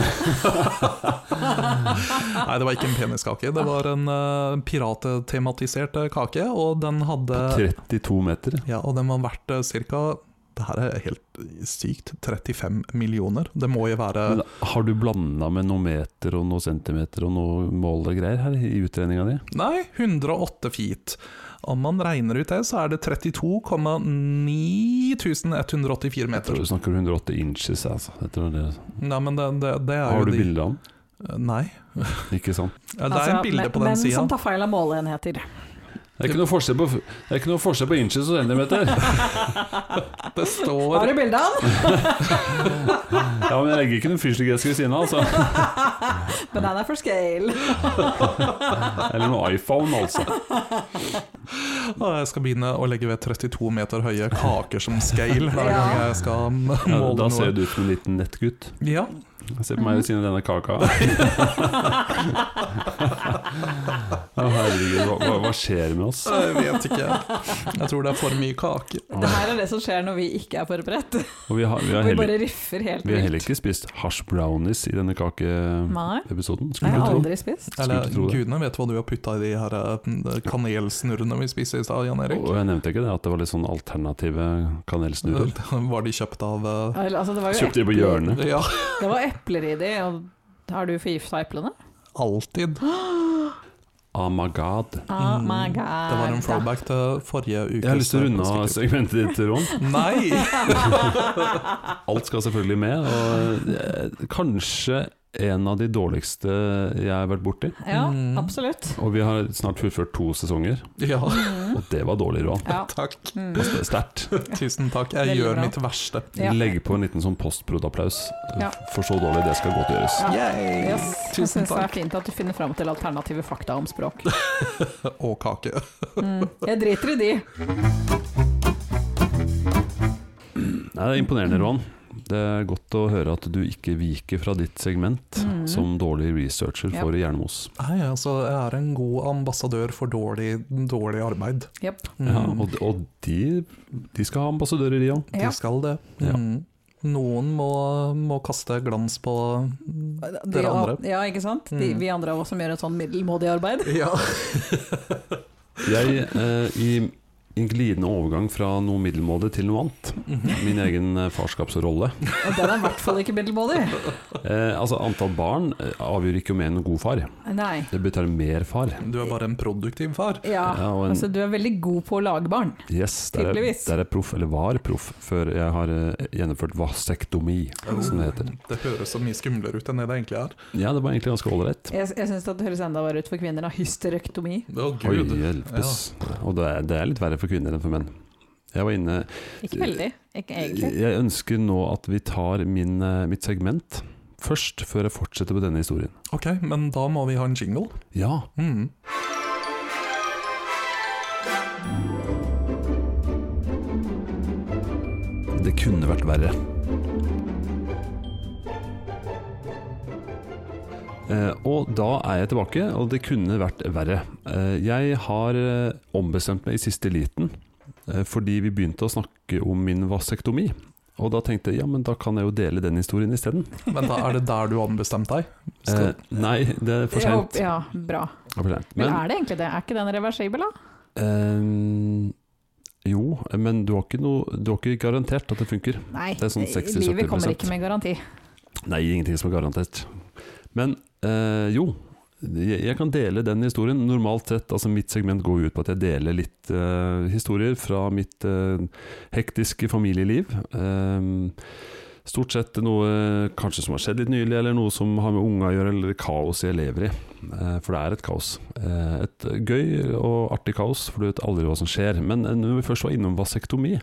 Speaker 3: Nei, det var ikke en peniskake. Det var en uh, pirattematisert eh, kake, og den hadde
Speaker 1: 32 meter.
Speaker 3: Ja, og den var verdt uh, ca. Det her er helt sykt. 35 millioner. Det må jo være
Speaker 1: Men har du blanda med noen meter og noen centimeter og noe mål og greier her i utregninga di?
Speaker 3: Nei, 108 feet. Om man regner ut det, så er det
Speaker 1: Jeg
Speaker 3: 32,9184
Speaker 1: tror
Speaker 3: meter.
Speaker 1: du snakker om 108 inches. Altså. Jeg tror det.
Speaker 3: Nei, men det, det, det er
Speaker 1: Har
Speaker 3: jo
Speaker 1: du
Speaker 3: de-
Speaker 1: bilde av den?
Speaker 3: Nei.
Speaker 1: Ikke sant?
Speaker 3: Ja, Det er
Speaker 2: Altså,
Speaker 3: et bilde
Speaker 2: men-
Speaker 3: på den
Speaker 2: Menn
Speaker 3: sida.
Speaker 2: som tar feil av måleenheter.
Speaker 1: Det er ikke noe forskjell på, det er ikke noe forskjell på inches og centimeter.
Speaker 3: Det
Speaker 2: Har
Speaker 3: står
Speaker 2: du bilde av den?
Speaker 1: Ja, men jeg legger ikke noen fyrstikkgreske ved siden av, altså.
Speaker 2: Men den er for scale.
Speaker 1: Eller noe iPhone, altså.
Speaker 3: Ja, Jeg skal begynne å legge ved 32 meter høye kaker som scale hver
Speaker 2: Ja.
Speaker 3: gang jeg skal
Speaker 1: Ja,
Speaker 3: måle
Speaker 1: da ser
Speaker 3: noe.
Speaker 1: du ut som en liten nettgutt.
Speaker 3: Ja,
Speaker 1: Se på meg ved siden av denne kaka. Å, herregud, hva, hva- hva skjer med oss?
Speaker 3: jeg vet ikke. Jeg tror det er for mye kake.
Speaker 2: Det her er det som skjer når vi ikke er forberedt.
Speaker 1: Og vi har, vi har
Speaker 2: Vi
Speaker 1: heller
Speaker 2: bare riffer helt
Speaker 1: Vi har heller
Speaker 2: vilt.
Speaker 1: ikke spist hash brownies i denne kakeepisoden.
Speaker 2: Nei, det
Speaker 1: Skulle
Speaker 2: har jeg
Speaker 1: du tro.
Speaker 2: aldri spist.
Speaker 3: Eller
Speaker 1: Skulle tro det.
Speaker 3: gudene vet hva du har putta i de her eh, kanelsnurrene vi spiser i stad, Jan Erik.
Speaker 1: Og jeg nevnte ikke det, at det var litt sånn alternative kanelsnurrer.
Speaker 3: Var de kjøpt av eh,
Speaker 2: Altså, det var jo
Speaker 1: Kjøpte de på
Speaker 2: epler-
Speaker 1: hjørnet.
Speaker 3: Ja,
Speaker 2: Det var epler i de, og har du forgifta eplene?
Speaker 3: alltid.
Speaker 1: Oh my god.
Speaker 2: Oh my god.
Speaker 3: Mm. Det var en throwback til forrige uke.
Speaker 1: Jeg har lyst til å runde av segmentet ditt, Ron.
Speaker 3: Nei!
Speaker 1: Alt skal selvfølgelig med. Og eh, kanskje en av de dårligste jeg har vært borti.
Speaker 2: Ja,
Speaker 3: Mm.
Speaker 2: absolutt. Mm.
Speaker 1: Og vi har snart fullført to sesonger,
Speaker 3: Ja,
Speaker 1: og det var dårlig, Roan.
Speaker 2: Ja.
Speaker 3: takk.
Speaker 2: Mm.
Speaker 1: Sterkt.
Speaker 3: Tusen takk. Jeg
Speaker 2: Veldig
Speaker 3: gjør
Speaker 2: bra.
Speaker 3: mitt verste.
Speaker 2: Ja.
Speaker 1: Legg på en liten sånn postprod-applaus,
Speaker 2: Ja.
Speaker 1: for så dårlig det skal godt gjøres.
Speaker 3: Yay!
Speaker 2: Yes. Jeg
Speaker 3: Tusen
Speaker 2: syns det er
Speaker 3: takk.
Speaker 2: fint at du finner fram til alternative fakta om språk.
Speaker 3: Og kake.
Speaker 2: Mm. Jeg driter i de.
Speaker 1: Nei, det er imponerende, Roan. Det er godt å høre at du ikke viker fra ditt segment
Speaker 2: Mhm.
Speaker 1: som dårlig researcher
Speaker 2: Ja.
Speaker 1: for hjernemos.
Speaker 3: Nei, altså, jeg er en god ambassadør for dårlig, dårlig arbeid. Mm.
Speaker 2: Jep.
Speaker 1: Ja,
Speaker 2: Mhm.
Speaker 1: og og de, de skal ha ambassadører, de òg.
Speaker 2: Ja.
Speaker 3: De skal det.
Speaker 1: Ja.
Speaker 3: Mm. Noen må, må kaste glans på
Speaker 2: De,
Speaker 3: dere andre.
Speaker 2: og- ja, ikke sant? De,
Speaker 3: Mm.
Speaker 2: vi andre av oss som gjør et sånn middelmådig arbeid.
Speaker 3: Ja.
Speaker 1: Jeg, eh, i en glidende overgang fra noe middelmådig til noe annet. Min egen eh, farskapsrolle.
Speaker 2: Og den er i hvert fall ikke middelmådig.
Speaker 1: Eh, altså Antall barn eh, avgjør ikke om jeg er en god far.
Speaker 2: Nei.
Speaker 1: Det betyr mer far.
Speaker 3: Du er bare en produktiv far.
Speaker 2: Ja,
Speaker 1: Ja, og en,
Speaker 2: altså du er veldig god på å lage barn.
Speaker 1: yes, der er,
Speaker 2: tydeligvis.
Speaker 1: der er proff, eller var proff, før jeg har eh, gjennomført vasektomi, som det heter.
Speaker 3: Mm. Det høres så mye skumlere ut enn det det egentlig er.
Speaker 1: Ja, det var egentlig ganske ålreit.
Speaker 2: Jeg, jeg syns det høres enda verre ut for kvinner, da. Hysterektomi.
Speaker 3: Å,
Speaker 1: Oi,
Speaker 3: gud.
Speaker 1: hjelpes. Og det er, det er litt verre for kvinner enn for menn. Jeg var inne
Speaker 2: Ikke veldig, ikke egentlig.
Speaker 1: Jeg ønsker nå at vi tar min, eh, mitt segment først, før jeg fortsetter på denne historien.
Speaker 3: Ok, men da må vi ha en jingle.
Speaker 1: Ja,
Speaker 3: Mm.
Speaker 1: det kunne vært verre. Eh, og da er jeg tilbake, og det kunne vært verre. Eh, jeg har eh, ombestemt meg i siste liten, eh, fordi vi begynte å snakke om min vasektomi. Og da tenkte jeg ja, men da kan jeg jo dele den historien isteden.
Speaker 3: Men da er det der du har bestemt deg?
Speaker 1: Eh,
Speaker 3: Skal,
Speaker 1: nei, det er for
Speaker 2: Jeg
Speaker 1: seint.
Speaker 2: håper- Ja, bra.
Speaker 1: Det er for sent.
Speaker 2: Men
Speaker 1: Men
Speaker 2: er det egentlig det? Er ikke den reversibel, da?
Speaker 1: Ehm, jo, men du har, ikke noe, du har ikke garantert at det funker.
Speaker 2: Nei, eh,
Speaker 1: Det er sånn 60-70%.
Speaker 2: livet kommer ikke med garanti.
Speaker 1: Nei, ingenting som er garantert. Men eh, jo, jeg, jeg kan dele den historien. Normalt sett, altså mitt segment går jo ut på at jeg deler litt eh, historier fra mitt eh, hektiske familieliv. Ehm, stort sett noe eh, kanskje som har skjedd litt nylig, eller noe som har med unga å gjøre, eller kaos jeg lever i. Eh, for det er et kaos. Eh, et gøy og artig kaos, for du vet aldri hva som skjer. Men eh, når vi først var innom vasektomi,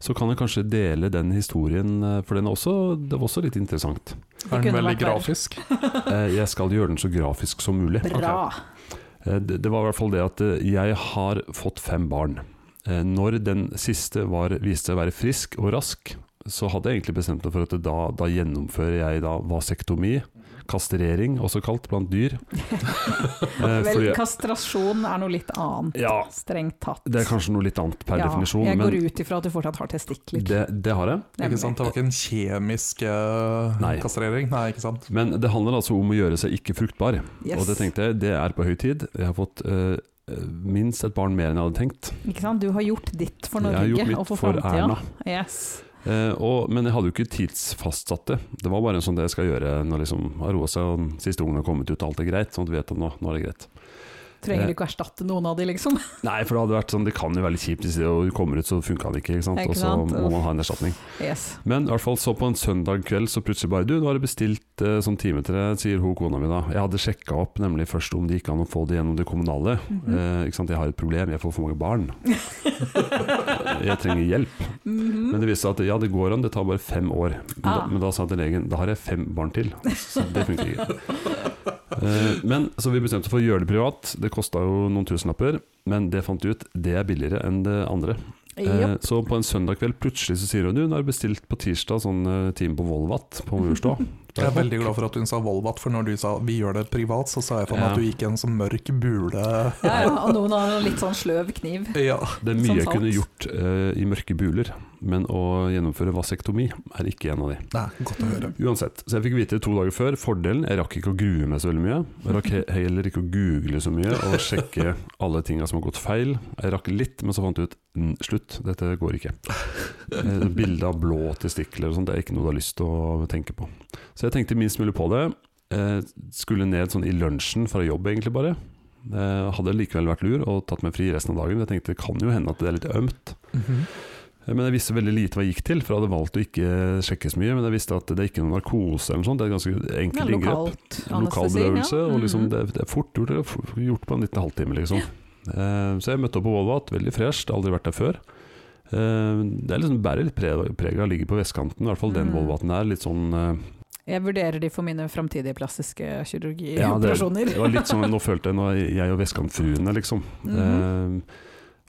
Speaker 1: så kan jeg kanskje dele den historien, eh, for den er også, det var også litt interessant.
Speaker 3: er den
Speaker 2: kunne
Speaker 3: veldig
Speaker 2: vært verre.
Speaker 3: grafisk?
Speaker 1: Eh, jeg skal gjøre den så grafisk som mulig.
Speaker 2: Bra.
Speaker 1: Eh, Det, det var i hvert fall det at eh, jeg har fått fem barn. Eh, Når den siste var, viste seg å være frisk og rask, så hadde jeg egentlig bestemt meg for at da, da gjennomfører jeg da vasektomi, kastrering også kalt, blant dyr. Eh,
Speaker 2: Vel,
Speaker 1: fordi-
Speaker 2: kastrasjon er noe litt annet,
Speaker 1: ja,
Speaker 2: strengt tatt.
Speaker 1: det er kanskje noe litt annet per definisjon,
Speaker 2: Jeg går
Speaker 1: men
Speaker 2: ut ifra at du fortsatt har testikler.
Speaker 1: det, det har jeg.
Speaker 2: Nemlig.
Speaker 3: Ikke sant? Det var ikke en kjemisk eh,
Speaker 1: Nei.
Speaker 3: kastrering? Nei, ikke sant?
Speaker 1: Men det handler altså om å gjøre seg ikke fruktbar.
Speaker 2: Yes.
Speaker 1: Og det tenkte jeg, det er på høy tid. Jeg har fått eh, minst et barn mer enn jeg hadde tenkt.
Speaker 2: Ikke sant? Du har gjort ditt for
Speaker 1: jeg har
Speaker 2: Norge
Speaker 1: gjort
Speaker 2: og
Speaker 1: mitt
Speaker 2: for
Speaker 1: for
Speaker 2: framtida.
Speaker 1: Erna.
Speaker 2: Yes.
Speaker 1: Eh, og, men jeg hadde jo ikke tidsfastsatt det. Det var bare en sånn det jeg skal gjøre når liksom har roa seg og den siste ungen har kommet ut og alt er greit. Sånn at du vet at nå, nå er det greit.
Speaker 2: Trenger
Speaker 1: Eh.
Speaker 2: du ikke å erstatte noen av de, liksom?
Speaker 1: Nei, for det hadde vært sånn, det kan jo være litt kjipt hvis det og kommer ut, så funka det ikke. ikke sant?
Speaker 2: Ikke
Speaker 1: Og så
Speaker 2: sant?
Speaker 1: må man ha en erstatning.
Speaker 2: Yes.
Speaker 1: Men i hvert fall så på en søndag kveld så plutselig bare Du, nå har jeg bestilt eh, sånn time til deg, sier hun kona mi da. Jeg hadde sjekka opp nemlig først om det gikk an å få det gjennom det kommunale.
Speaker 2: Mhm.
Speaker 1: eh, ikke sant? Jeg har et problem, jeg får for mange barn. jeg trenger hjelp.
Speaker 2: Mhm.
Speaker 1: Men det viste seg at ja, det går an, det tar bare fem år. Men,
Speaker 2: Ah.
Speaker 1: da, men da sa til legen da har jeg fem barn til, så det funker ikke. Eh, men Så vi bestemte for å gjøre det privat. Det kosta jo noen tusenlapper, men det fant vi ut, det er billigere enn det andre. Eh,
Speaker 2: Japp.
Speaker 1: Så på en søndag kveld plutselig så sier hun du, nå har jeg bestilt på tirsdag sånn eh, time på Volvat på Murstua.
Speaker 3: Jeg er veldig glad for at hun sa Volvat, for når du sa vi gjør det privat, så sa jeg for meg
Speaker 1: Ja.
Speaker 3: at du gikk i en sånn mørk bule
Speaker 2: Ja,
Speaker 1: eh,
Speaker 2: ja, og noen har en litt sånn sløv kniv.
Speaker 3: Ja,
Speaker 1: Det er mye
Speaker 2: Som
Speaker 1: jeg kunne
Speaker 2: salt.
Speaker 1: gjort eh, i mørke buler, men å gjennomføre vasektomi er ikke en av de.
Speaker 3: Nei, godt å høre.
Speaker 1: Uansett, så jeg fikk vite to dager før fordelen. Jeg rakk ikke å grue meg så veldig mye. Jeg rakk he- heller ikke å google så mye og sjekke alle tinga som har gått feil. Jeg rakk litt, men så fant jeg ut "N- slutt, dette går ikke. Eh, Bilde av blå testikler og sånt, det er ikke noe du har lyst til å tenke på. Så jeg tenkte minst mulig på det. Eh, Skulle ned sånn i lunsjen fra jobb, egentlig bare. Eh, Hadde likevel vært lur og tatt meg fri resten av dagen. Jeg tenkte det kan jo hende at det er litt ømt.
Speaker 3: Mhm.
Speaker 1: Eh, Men jeg visste veldig lite hva jeg gikk til, for jeg hadde valgt å ikke sjekke så mye. Men jeg visste at det er ikke noe narkose eller noe sånt, det er et ganske
Speaker 2: Ja,
Speaker 1: enkelt inngrep.
Speaker 2: lokalt
Speaker 1: Lokal
Speaker 2: anestesi.
Speaker 1: bedøvelse,
Speaker 2: ja.
Speaker 1: og liksom
Speaker 2: Mhm.
Speaker 1: det, det er fort gjort, det er fort gjort på en liten halvtime, liksom. Eh, så jeg møtte opp på Volvat, veldig fresh, det har aldri vært der før. Eh, det er liksom bærer litt pre- preg av å ligge på vestkanten, i hvert fall den
Speaker 2: Mm.
Speaker 1: Volvaten er. Litt sånn eh,
Speaker 2: Jeg vurderer de for mine framtidige plastiske
Speaker 1: Ja, det-
Speaker 2: kirurgioperasjoner.
Speaker 1: Det var litt sånn, nå følte jeg nå er jeg og vestkantfruene, liksom.
Speaker 2: Mhm.
Speaker 1: eh,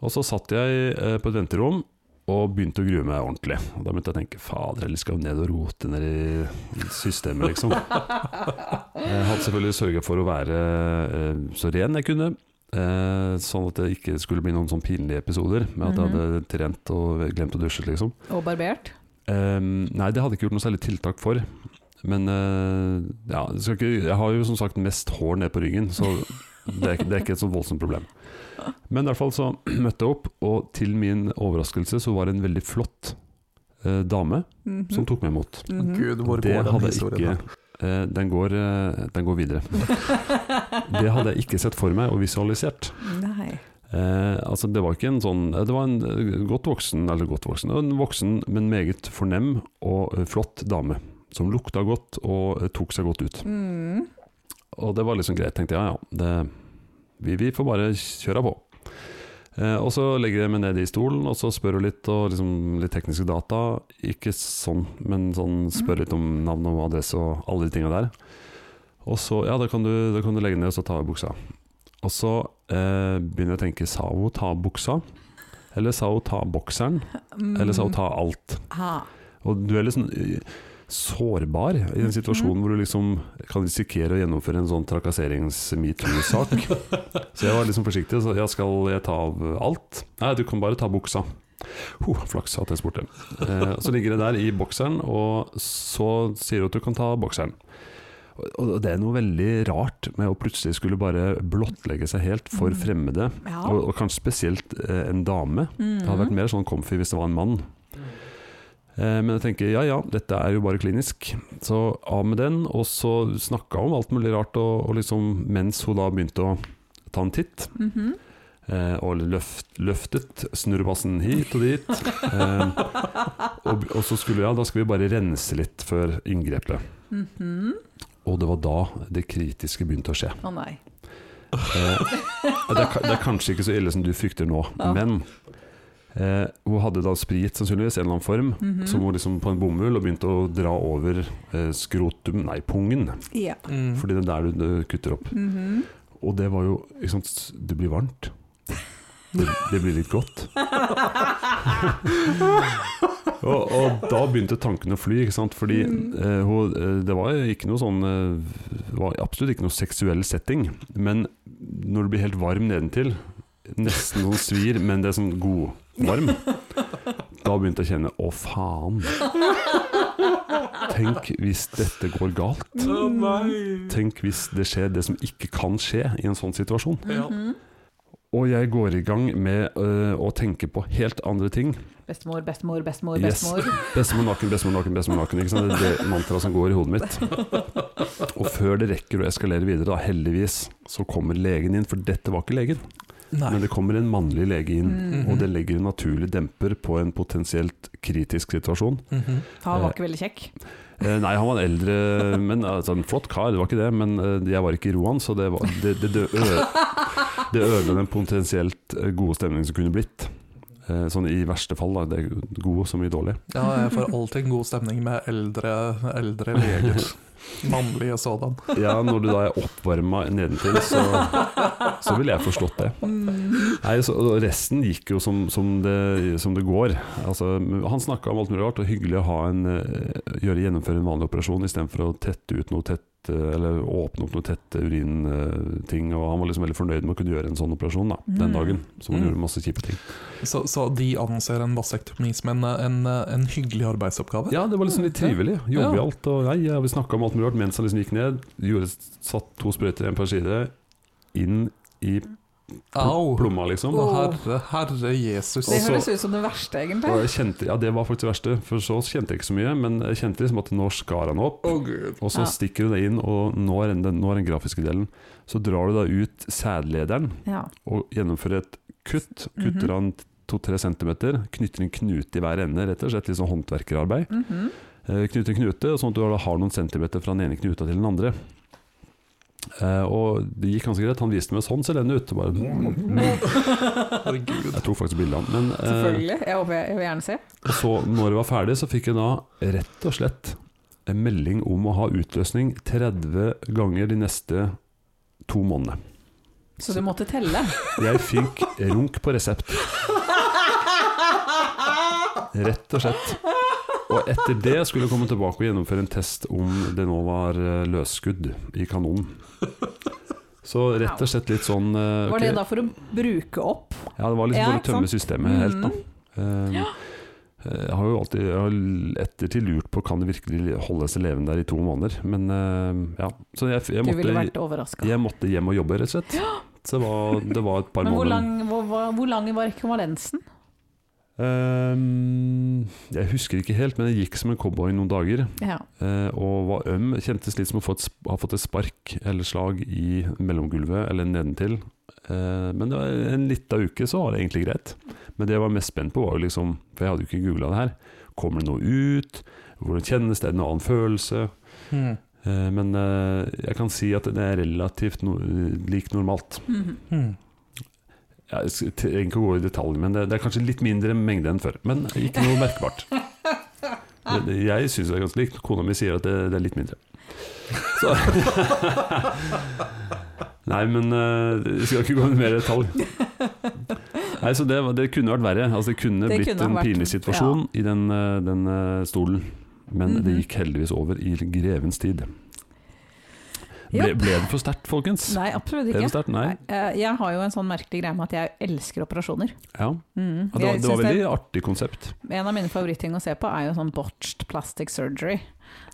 Speaker 1: og så satt jeg eh, på et venterom og begynte å grue meg ordentlig. Og da begynte jeg å tenke fader, eller skal jeg ned og rote ned i systemet, liksom. jeg hadde selvfølgelig sørga for å være eh, så ren jeg kunne. eh, sånn at det ikke skulle bli noen sånn pinlige episoder med at jeg hadde trent og glemt å dusje, liksom.
Speaker 2: og barbert.
Speaker 1: Ehm, nei, det hadde jeg ikke gjort noe særlig tiltak for. Men eh, ja, jeg, skal ikke, jeg har jo som sagt mest hår ned på ryggen, så det er, ikke- det er ikke et så voldsomt problem. Men i hvert fall så møtte jeg opp, og til min overraskelse så var det en veldig flott eh, dame
Speaker 2: Mhm.
Speaker 1: som tok meg imot.
Speaker 2: Mhm.
Speaker 3: Gud, Mm. hvor
Speaker 1: det
Speaker 3: går den
Speaker 1: hadde jeg ikke
Speaker 3: historien? her?
Speaker 1: eh, den, går, eh, den går videre. Det hadde jeg ikke sett for meg og visualisert.
Speaker 2: Nei.
Speaker 1: Eh, altså Det var ikke en sånn eh, Det var en eh, godt voksen, eller godt voksen, en voksen, men meget fornem og eh, flott dame. Som lukta godt og eh, tok seg godt ut.
Speaker 2: Mm.
Speaker 1: Og det var liksom greit, tenkte jeg, ja, ja, det, vi, vi får bare kjøre på. Eh, og så legger jeg meg ned i stolen, og så spør hun litt, og liksom litt tekniske data. Ikke sånn, men sånn spør litt om navn og adresse og alle de tinga der. Og så, ja, da kan du, da kan du legge ned, og så ta av buksa. Og så eh, begynner jeg å tenke, sa hun ta buksa? Eller sa hun ta bokseren?
Speaker 2: Mm.
Speaker 1: Eller sa hun ta alt?
Speaker 2: Ah.
Speaker 1: Og du er litt sånn eh, sårbar i en situasjon
Speaker 2: Mhm.
Speaker 1: hvor du liksom kan risikere å gjennomføre en sånn trakasserings-metoo-sak. så jeg var liksom forsiktig. Så jeg skal jeg ta av alt? Nei, du kan bare ta buksa. Huh, flaks at jeg spurte. Eh, så ligger det der i bokseren, og så sier hun at du kan ta bokseren. Og- Og det er noe veldig rart med å plutselig skulle bare blottlegge seg helt for
Speaker 2: Mm.
Speaker 1: fremmede,
Speaker 2: Ja.
Speaker 1: og, og kanskje spesielt eh, en dame. Det hadde
Speaker 2: Mhm.
Speaker 1: vært mer sånn comfy hvis det var en mann. Eh, Men jeg tenker ja ja, dette er jo bare klinisk. Så av med den. Og så snakka hun om alt mulig rart, og, og liksom mens hun da begynte å ta en titt.
Speaker 2: Mhm.
Speaker 1: Eh, og løft, løftet snurrebassen hit og dit. Eh, og, og så skulle ja, da skal vi bare rense litt før inngrepet.
Speaker 2: Mhm.
Speaker 1: Og det var da det kritiske begynte å skje.
Speaker 2: Å nei.
Speaker 1: Eh, det, er, ka- det er kanskje ikke så ille som du frykter nå,
Speaker 2: Ja.
Speaker 1: men eh, hun hadde da sprit, sannsynligvis, i en eller annen form,
Speaker 2: Mhm.
Speaker 1: som hun liksom på en bomull og begynte å dra over eh, skrotum, nei, pungen,
Speaker 2: Ja.
Speaker 3: Mm.
Speaker 1: fordi det er der du, du kutter opp.
Speaker 2: Mhm.
Speaker 1: Og det var jo ikke sant, s- Det blir varmt. Det, det blir litt godt. og, og da begynte tankene å fly, ikke sant? fordi eh, hun, eh, det var jo ikke noe sånn eh, Det var absolutt ikke noe seksuell setting. Men når du blir helt varm nedentil, nesten sånn svir, men det er sånn godvarm, da begynte jeg å kjenne Å, faen. Tenk hvis dette går galt.
Speaker 3: Å, nei.
Speaker 1: Tenk hvis det skjer det som ikke kan skje i en sånn situasjon.
Speaker 3: Ja.
Speaker 2: Mhm.
Speaker 1: Og jeg går i gang med øh, å tenke på helt andre ting.
Speaker 2: Bestemor, bestemor, bestemor,
Speaker 1: Yes.
Speaker 2: bestemor.
Speaker 1: Bestemor naken, bestemor naken, bestemor naken. Ikke sant? Det er det mantraet som går i hodet mitt. Og før det rekker å eskalere videre, da, heldigvis, så kommer legen inn. For dette var ikke legen,
Speaker 3: Nei. Mm.
Speaker 1: men det kommer en mannlig lege inn.
Speaker 2: Mhm.
Speaker 1: Og det legger en naturlig demper på en potensielt kritisk situasjon.
Speaker 3: Mhm.
Speaker 2: For han var ikke veldig kjekk.
Speaker 1: Eh, nei, han var en eldre, men altså, en flott kar, det var ikke det. Men eh, jeg var ikke i roen, så det, var, det, det, det, ø- det ødela den potensielt eh, gode stemningen som kunne blitt. Eh, sånn i verste fall, da. Det er god som i dårlig.
Speaker 3: Ja, jeg får alltid en god stemning med eldre, eldre leger. Mannlige sådan.
Speaker 1: Ja, når du da er oppvarma nedentil, så, så ville jeg forstått det.
Speaker 2: Mhm.
Speaker 1: Nei, så, og resten gikk jo som, som, det, som det går. Altså, han snakka om alt mulig rart, og hyggelig å ha en, eh, gjøre, gjennomføre en vanlig operasjon istedenfor å tette ut noe tett, eh, eller åpne opp noe tett urinting. Og han var liksom veldig fornøyd med å kunne gjøre en sånn operasjon da,
Speaker 2: Mm.
Speaker 1: den dagen. Så han
Speaker 3: Mm.
Speaker 1: gjorde masse kjipe ting.
Speaker 3: Så, så de anser en vasektomi som en, en, en hyggelig arbeidsoppgave?
Speaker 1: Ja, det var liksom litt trivelig. Jovialt. Og nei, ja, vi snakka om alt mulig rart mens han liksom gikk ned. Gjorde, satt to sprøyter, en per side, inn i
Speaker 3: Au!
Speaker 1: plomma, liksom.
Speaker 3: Å, herre, herre Jesus.
Speaker 2: Det
Speaker 1: Også-
Speaker 2: høres ut som det verste,
Speaker 1: Og
Speaker 2: egentlig.
Speaker 1: jeg kjente, ja, det var faktisk det verste, for så kjente jeg ikke så mye. Men jeg kjente liksom at nå skar han opp,
Speaker 3: Å, Gud.
Speaker 1: og så
Speaker 2: Ja.
Speaker 1: stikker du det inn, og nå er den, den- nå er den grafiske delen. Så drar du da ut sædlederen
Speaker 2: Ja.
Speaker 1: og gjennomfører et kutt.
Speaker 2: Mhm.
Speaker 1: Kutter han to-tre centimeter, knytter en knute i hver ende, rett og slett litt sånn håndverkerarbeid.
Speaker 2: Mhm.
Speaker 1: Eh, Knytter en knute, sånn at du da har noen centimeter fra den ene knuta til den andre. Eh, og det gikk ganske greit. Han viste meg sånn ser den ut. Og bare, mm.
Speaker 3: Herregud.
Speaker 1: jeg tok faktisk bilde av den. Men, eh,
Speaker 2: Selvfølgelig. Jeg, håper jeg, jeg vil gjerne se.
Speaker 1: Og så når det var ferdig så fikk jeg da rett og slett en melding om å ha utløsning 30 ganger de neste to månedene.
Speaker 2: Så du måtte telle.
Speaker 1: Jeg fikk runk på resept. Rett og slett. Og etter det skulle jeg komme tilbake og gjennomføre en test om det nå var eh, løsskudd i kanonen. Så rett og slett litt sånn eh,
Speaker 2: Var
Speaker 1: ok.
Speaker 2: det da for å bruke opp?
Speaker 1: Ja, det var liksom
Speaker 2: Ja,
Speaker 1: for å
Speaker 2: ikke
Speaker 1: tømme
Speaker 2: sant?
Speaker 1: systemet helt, da.
Speaker 2: Mhm.
Speaker 1: Eh, Jeg har jo alltid jeg har ettertid lurt på kan det virkelig holde seg levende der i to måneder. Men eh, ja, så jeg, jeg,
Speaker 2: Du ville vært
Speaker 1: måtte,
Speaker 2: overraska.
Speaker 1: jeg måtte hjem og jobbe, rett og slett. Så det var, det var et par
Speaker 2: Men hvor
Speaker 1: måneder
Speaker 2: lang, hvor, hvor- hvor lang var rekonvalensen?
Speaker 1: Ehm, Jeg husker ikke helt, men jeg gikk som en cowboy noen dager.
Speaker 2: Ja.
Speaker 1: eh, Og var øm. Kjentes litt som å få et, sp- ha fått et spark eller slag i mellomgulvet eller nedentil. Eh, Men det var en lita uke så var det egentlig greit. Men det jeg var mest spent på, var jo liksom For jeg hadde jo ikke googla det her. Kommer det noe ut? Hvordan kjennes det? Er det En annen følelse?
Speaker 3: Mm.
Speaker 1: Eh, Men eh, jeg kan si at det er relativt no lik normalt.
Speaker 2: Mhm.
Speaker 3: Mm.
Speaker 1: Jeg s- trenger ikke å gå i detalj, men det, det er kanskje litt mindre mengde enn før. Men ikke noe merkbart. Det- det- Jeg syns det er ganske likt. Kona mi sier at det, det er litt mindre. Så. Nei, men eh, jeg skal ikke gå i mer detalj. Nei, så det, var- det kunne vært verre. Altså, det kunne
Speaker 2: Det
Speaker 1: blitt
Speaker 2: kunne
Speaker 1: en
Speaker 2: vært-
Speaker 1: pinlig situasjon i den, eh, den eh, stolen. Men det
Speaker 2: Mhm.
Speaker 1: gikk heldigvis over i grevens tid. Ble,
Speaker 2: Japp.
Speaker 1: ble det for sterkt, folkens?
Speaker 2: Nei, absolutt
Speaker 1: Ble det for sterkt?
Speaker 2: ikke.
Speaker 1: Nei.
Speaker 2: Eh, Jeg har jo en sånn merkelig greie med at jeg elsker operasjoner.
Speaker 1: Ja.
Speaker 2: Mhm.
Speaker 1: Ja, Det var,
Speaker 2: Jeg
Speaker 1: det var
Speaker 2: synes
Speaker 1: veldig artig konsept.
Speaker 2: En av mine favorittting å se på er jo sånn botched plastic surgery.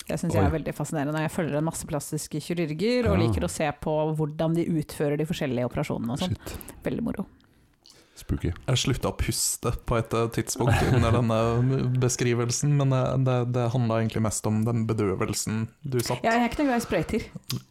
Speaker 2: Det syns
Speaker 1: Oi. Ah.
Speaker 2: jeg er veldig fascinerende. Jeg følger en masse plastiske kirurger og
Speaker 1: Ja.
Speaker 2: liker å se på hvordan de utfører de forskjellige operasjonene og sånn.
Speaker 1: Shit.
Speaker 2: Veldig moro.
Speaker 1: Spooky.
Speaker 3: Jeg slutta å puste på et eh, tidspunkt under denne eh, beskrivelsen, men eh, det, det handla egentlig mest om den bedøvelsen du satt.
Speaker 2: Ja, jeg er ikke noe glad i sprøyter.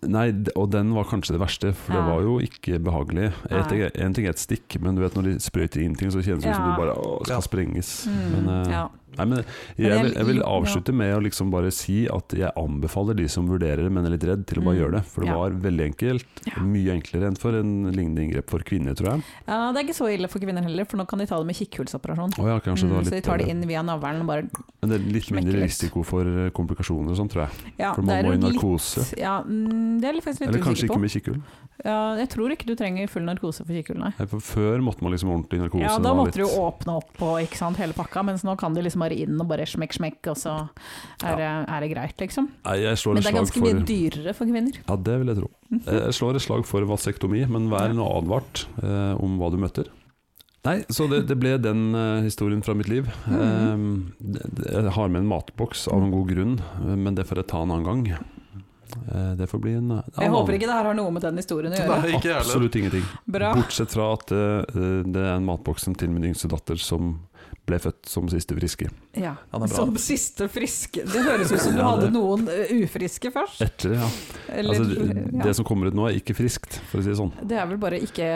Speaker 1: Nei, d- og den var kanskje det verste, for det
Speaker 2: Ja.
Speaker 1: var jo ikke behagelig.
Speaker 2: Nei.
Speaker 1: Et, en ting er et stikk, men du vet når de sprøyter inn ting, så kjennes det ut som
Speaker 2: Ja.
Speaker 1: du bare å, skal
Speaker 3: Ja.
Speaker 1: sprenges.
Speaker 2: Mm,
Speaker 1: Men, eh,
Speaker 2: ja.
Speaker 1: nei, men jeg,
Speaker 2: jeg
Speaker 1: vil, jeg vil
Speaker 2: lik- ja.
Speaker 1: avslutte med å liksom bare si at jeg anbefaler de som vurderer det, men er litt redd, til å bare
Speaker 2: Mm.
Speaker 1: gjøre det. For det
Speaker 2: Ja.
Speaker 1: var veldig enkelt.
Speaker 2: Ja.
Speaker 1: Mye enklere enn for en lignende inngrep for kvinner, tror jeg.
Speaker 2: ja, Det er ikke så ille for kvinner heller, for nå kan de ta det med kikkhullsoperasjon.
Speaker 1: Å ja, kanskje det
Speaker 2: Mm,
Speaker 1: var
Speaker 2: så de
Speaker 1: litt eh,
Speaker 2: tar det inn via navlen og bare
Speaker 1: Men det er litt
Speaker 2: smekker
Speaker 1: mindre
Speaker 2: litt.
Speaker 1: risiko for eh, komplikasjoner og sånn, tror jeg.
Speaker 2: Ja,
Speaker 1: For
Speaker 2: det
Speaker 1: man
Speaker 2: er
Speaker 1: må i
Speaker 2: jo litt
Speaker 1: narkose.
Speaker 2: ja, mm, det er jeg faktisk litt
Speaker 1: Eller kanskje ikke
Speaker 2: usikker på.
Speaker 1: med kikkhull.
Speaker 2: Ja, jeg tror ikke du trenger full narkose for kikkhull, nei.
Speaker 1: Nei, for Før måtte man liksom ordentlig i narkose.
Speaker 2: Ja,
Speaker 1: det
Speaker 2: da
Speaker 1: var
Speaker 2: måtte du
Speaker 1: litt-
Speaker 2: jo åpne opp og ikke sant, hele pakka, mens nå kan de liksom bare inn og bare smekk, smekk, og så er, det, er det greit, liksom.
Speaker 1: Nei, jeg slår
Speaker 2: Men
Speaker 1: et
Speaker 2: det er
Speaker 1: slag
Speaker 2: ganske mye
Speaker 1: for
Speaker 2: dyrere for kvinner. Mm.
Speaker 1: Ja, det vil jeg tro. Eh, Jeg slår et slag for vasektomi, men vær nå advart eh, om hva du møter. Nei, så det, det ble den eh, historien fra mitt liv.
Speaker 2: Mhm.
Speaker 1: Eh, det- det- jeg har med en matboks av en god grunn, eh, men det får jeg ta en annen gang. Eh, det får bli en annen
Speaker 2: Jeg håper ikke det her har noe med den historien å gjøre.
Speaker 3: Nei, ikke jeg heller.
Speaker 1: Absolutt ingenting.
Speaker 2: Bra.
Speaker 1: Bortsett fra at eh, det er en matboksen til min yngste datter som ble født som siste friske.
Speaker 2: Ja.
Speaker 3: Ja, det er bra.
Speaker 2: Som siste friske Det høres ut som du
Speaker 1: Ja,
Speaker 2: hadde
Speaker 1: det-
Speaker 2: noen eh, ufriske først.
Speaker 1: Etter det, ja.
Speaker 2: Eller,
Speaker 1: Altså, det,
Speaker 2: ja.
Speaker 1: det som kommer ut nå, er ikke friskt, for å si det sånn.
Speaker 2: Det er vel bare
Speaker 1: Det er ikke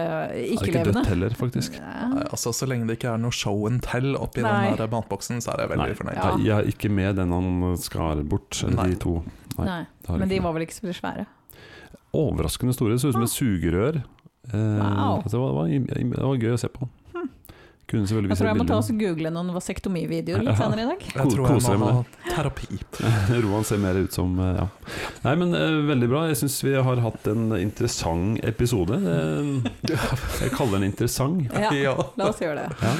Speaker 2: ikke-levende.
Speaker 1: dødt heller, faktisk.
Speaker 3: Nei, altså, så lenge det ikke er noe show and tell oppi
Speaker 2: Nei.
Speaker 3: den der matboksen, så er jeg veldig
Speaker 1: Nei.
Speaker 3: fornøyd.
Speaker 2: Ja.
Speaker 1: Nei, jeg er ikke med den han skar bort, eller
Speaker 3: Nei.
Speaker 1: de to. Nei,
Speaker 2: Nei.
Speaker 1: Det har jeg
Speaker 2: Men de
Speaker 1: ikke.
Speaker 2: var vel ikke så veldig svære.
Speaker 1: Overraskende store, det så ut som et sugerør. Eh,
Speaker 2: Wow. Hm.
Speaker 1: det, var, det, var, im- det var gøy å se på. Kunne selvfølgelig
Speaker 2: Jeg
Speaker 1: vise
Speaker 2: tror jeg må ta
Speaker 1: bilder.
Speaker 2: og google noen vasektomivideoer
Speaker 1: Ja.
Speaker 2: litt senere i dag.
Speaker 3: Jeg tror
Speaker 1: Kos deg
Speaker 3: jeg må
Speaker 1: med
Speaker 3: ha terapi.
Speaker 1: Roan ser mer ut som eh, ja. Nei, men eh, veldig bra. Jeg syns vi har hatt en interessant episode. Det, jeg kaller den interessant.
Speaker 2: Ja,
Speaker 3: Ja.
Speaker 2: la oss gjøre det.
Speaker 1: Ja.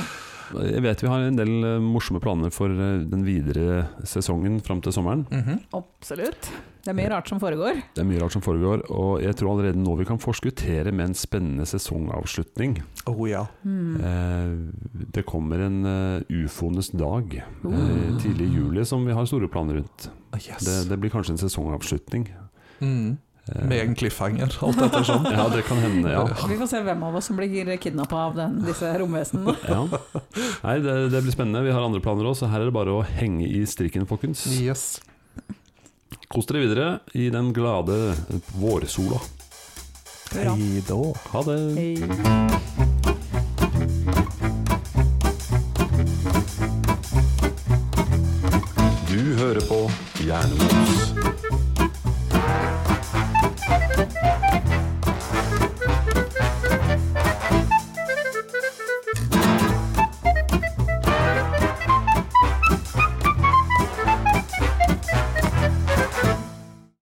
Speaker 1: Jeg vet vi har en del eh, morsomme planer for eh, den videre sesongen fram til sommeren.
Speaker 3: Mhm.
Speaker 2: Absolutt. Det er mye rart som foregår.
Speaker 1: Det er mye rart som foregår, og jeg tror allerede nå vi kan forskuttere med en spennende sesongavslutning.
Speaker 3: Oh ja.
Speaker 2: Mm.
Speaker 1: Eh, det kommer en eh, ufoenes dag eh,
Speaker 2: Oh.
Speaker 1: tidlig i juli som vi har store planer rundt.
Speaker 3: Yes.
Speaker 1: Det, det blir kanskje en sesongavslutning.
Speaker 3: Mm.
Speaker 1: Eh,
Speaker 3: Med en cliffhanger, alt etter sånn.
Speaker 1: ja, det kan hende, ja.
Speaker 2: Vi får se hvem av oss som blir kidnappa av den, disse romvesenene.
Speaker 1: ja. Nei, det, det blir spennende. Vi har andre planer òg, så her er det bare å henge i strikken, folkens.
Speaker 3: Yes.
Speaker 1: Kos dere videre i den glade vårsola.
Speaker 2: Hurra.
Speaker 3: Hei da.
Speaker 1: Ha det.
Speaker 2: Hei.
Speaker 1: Du hører på Hjernemos.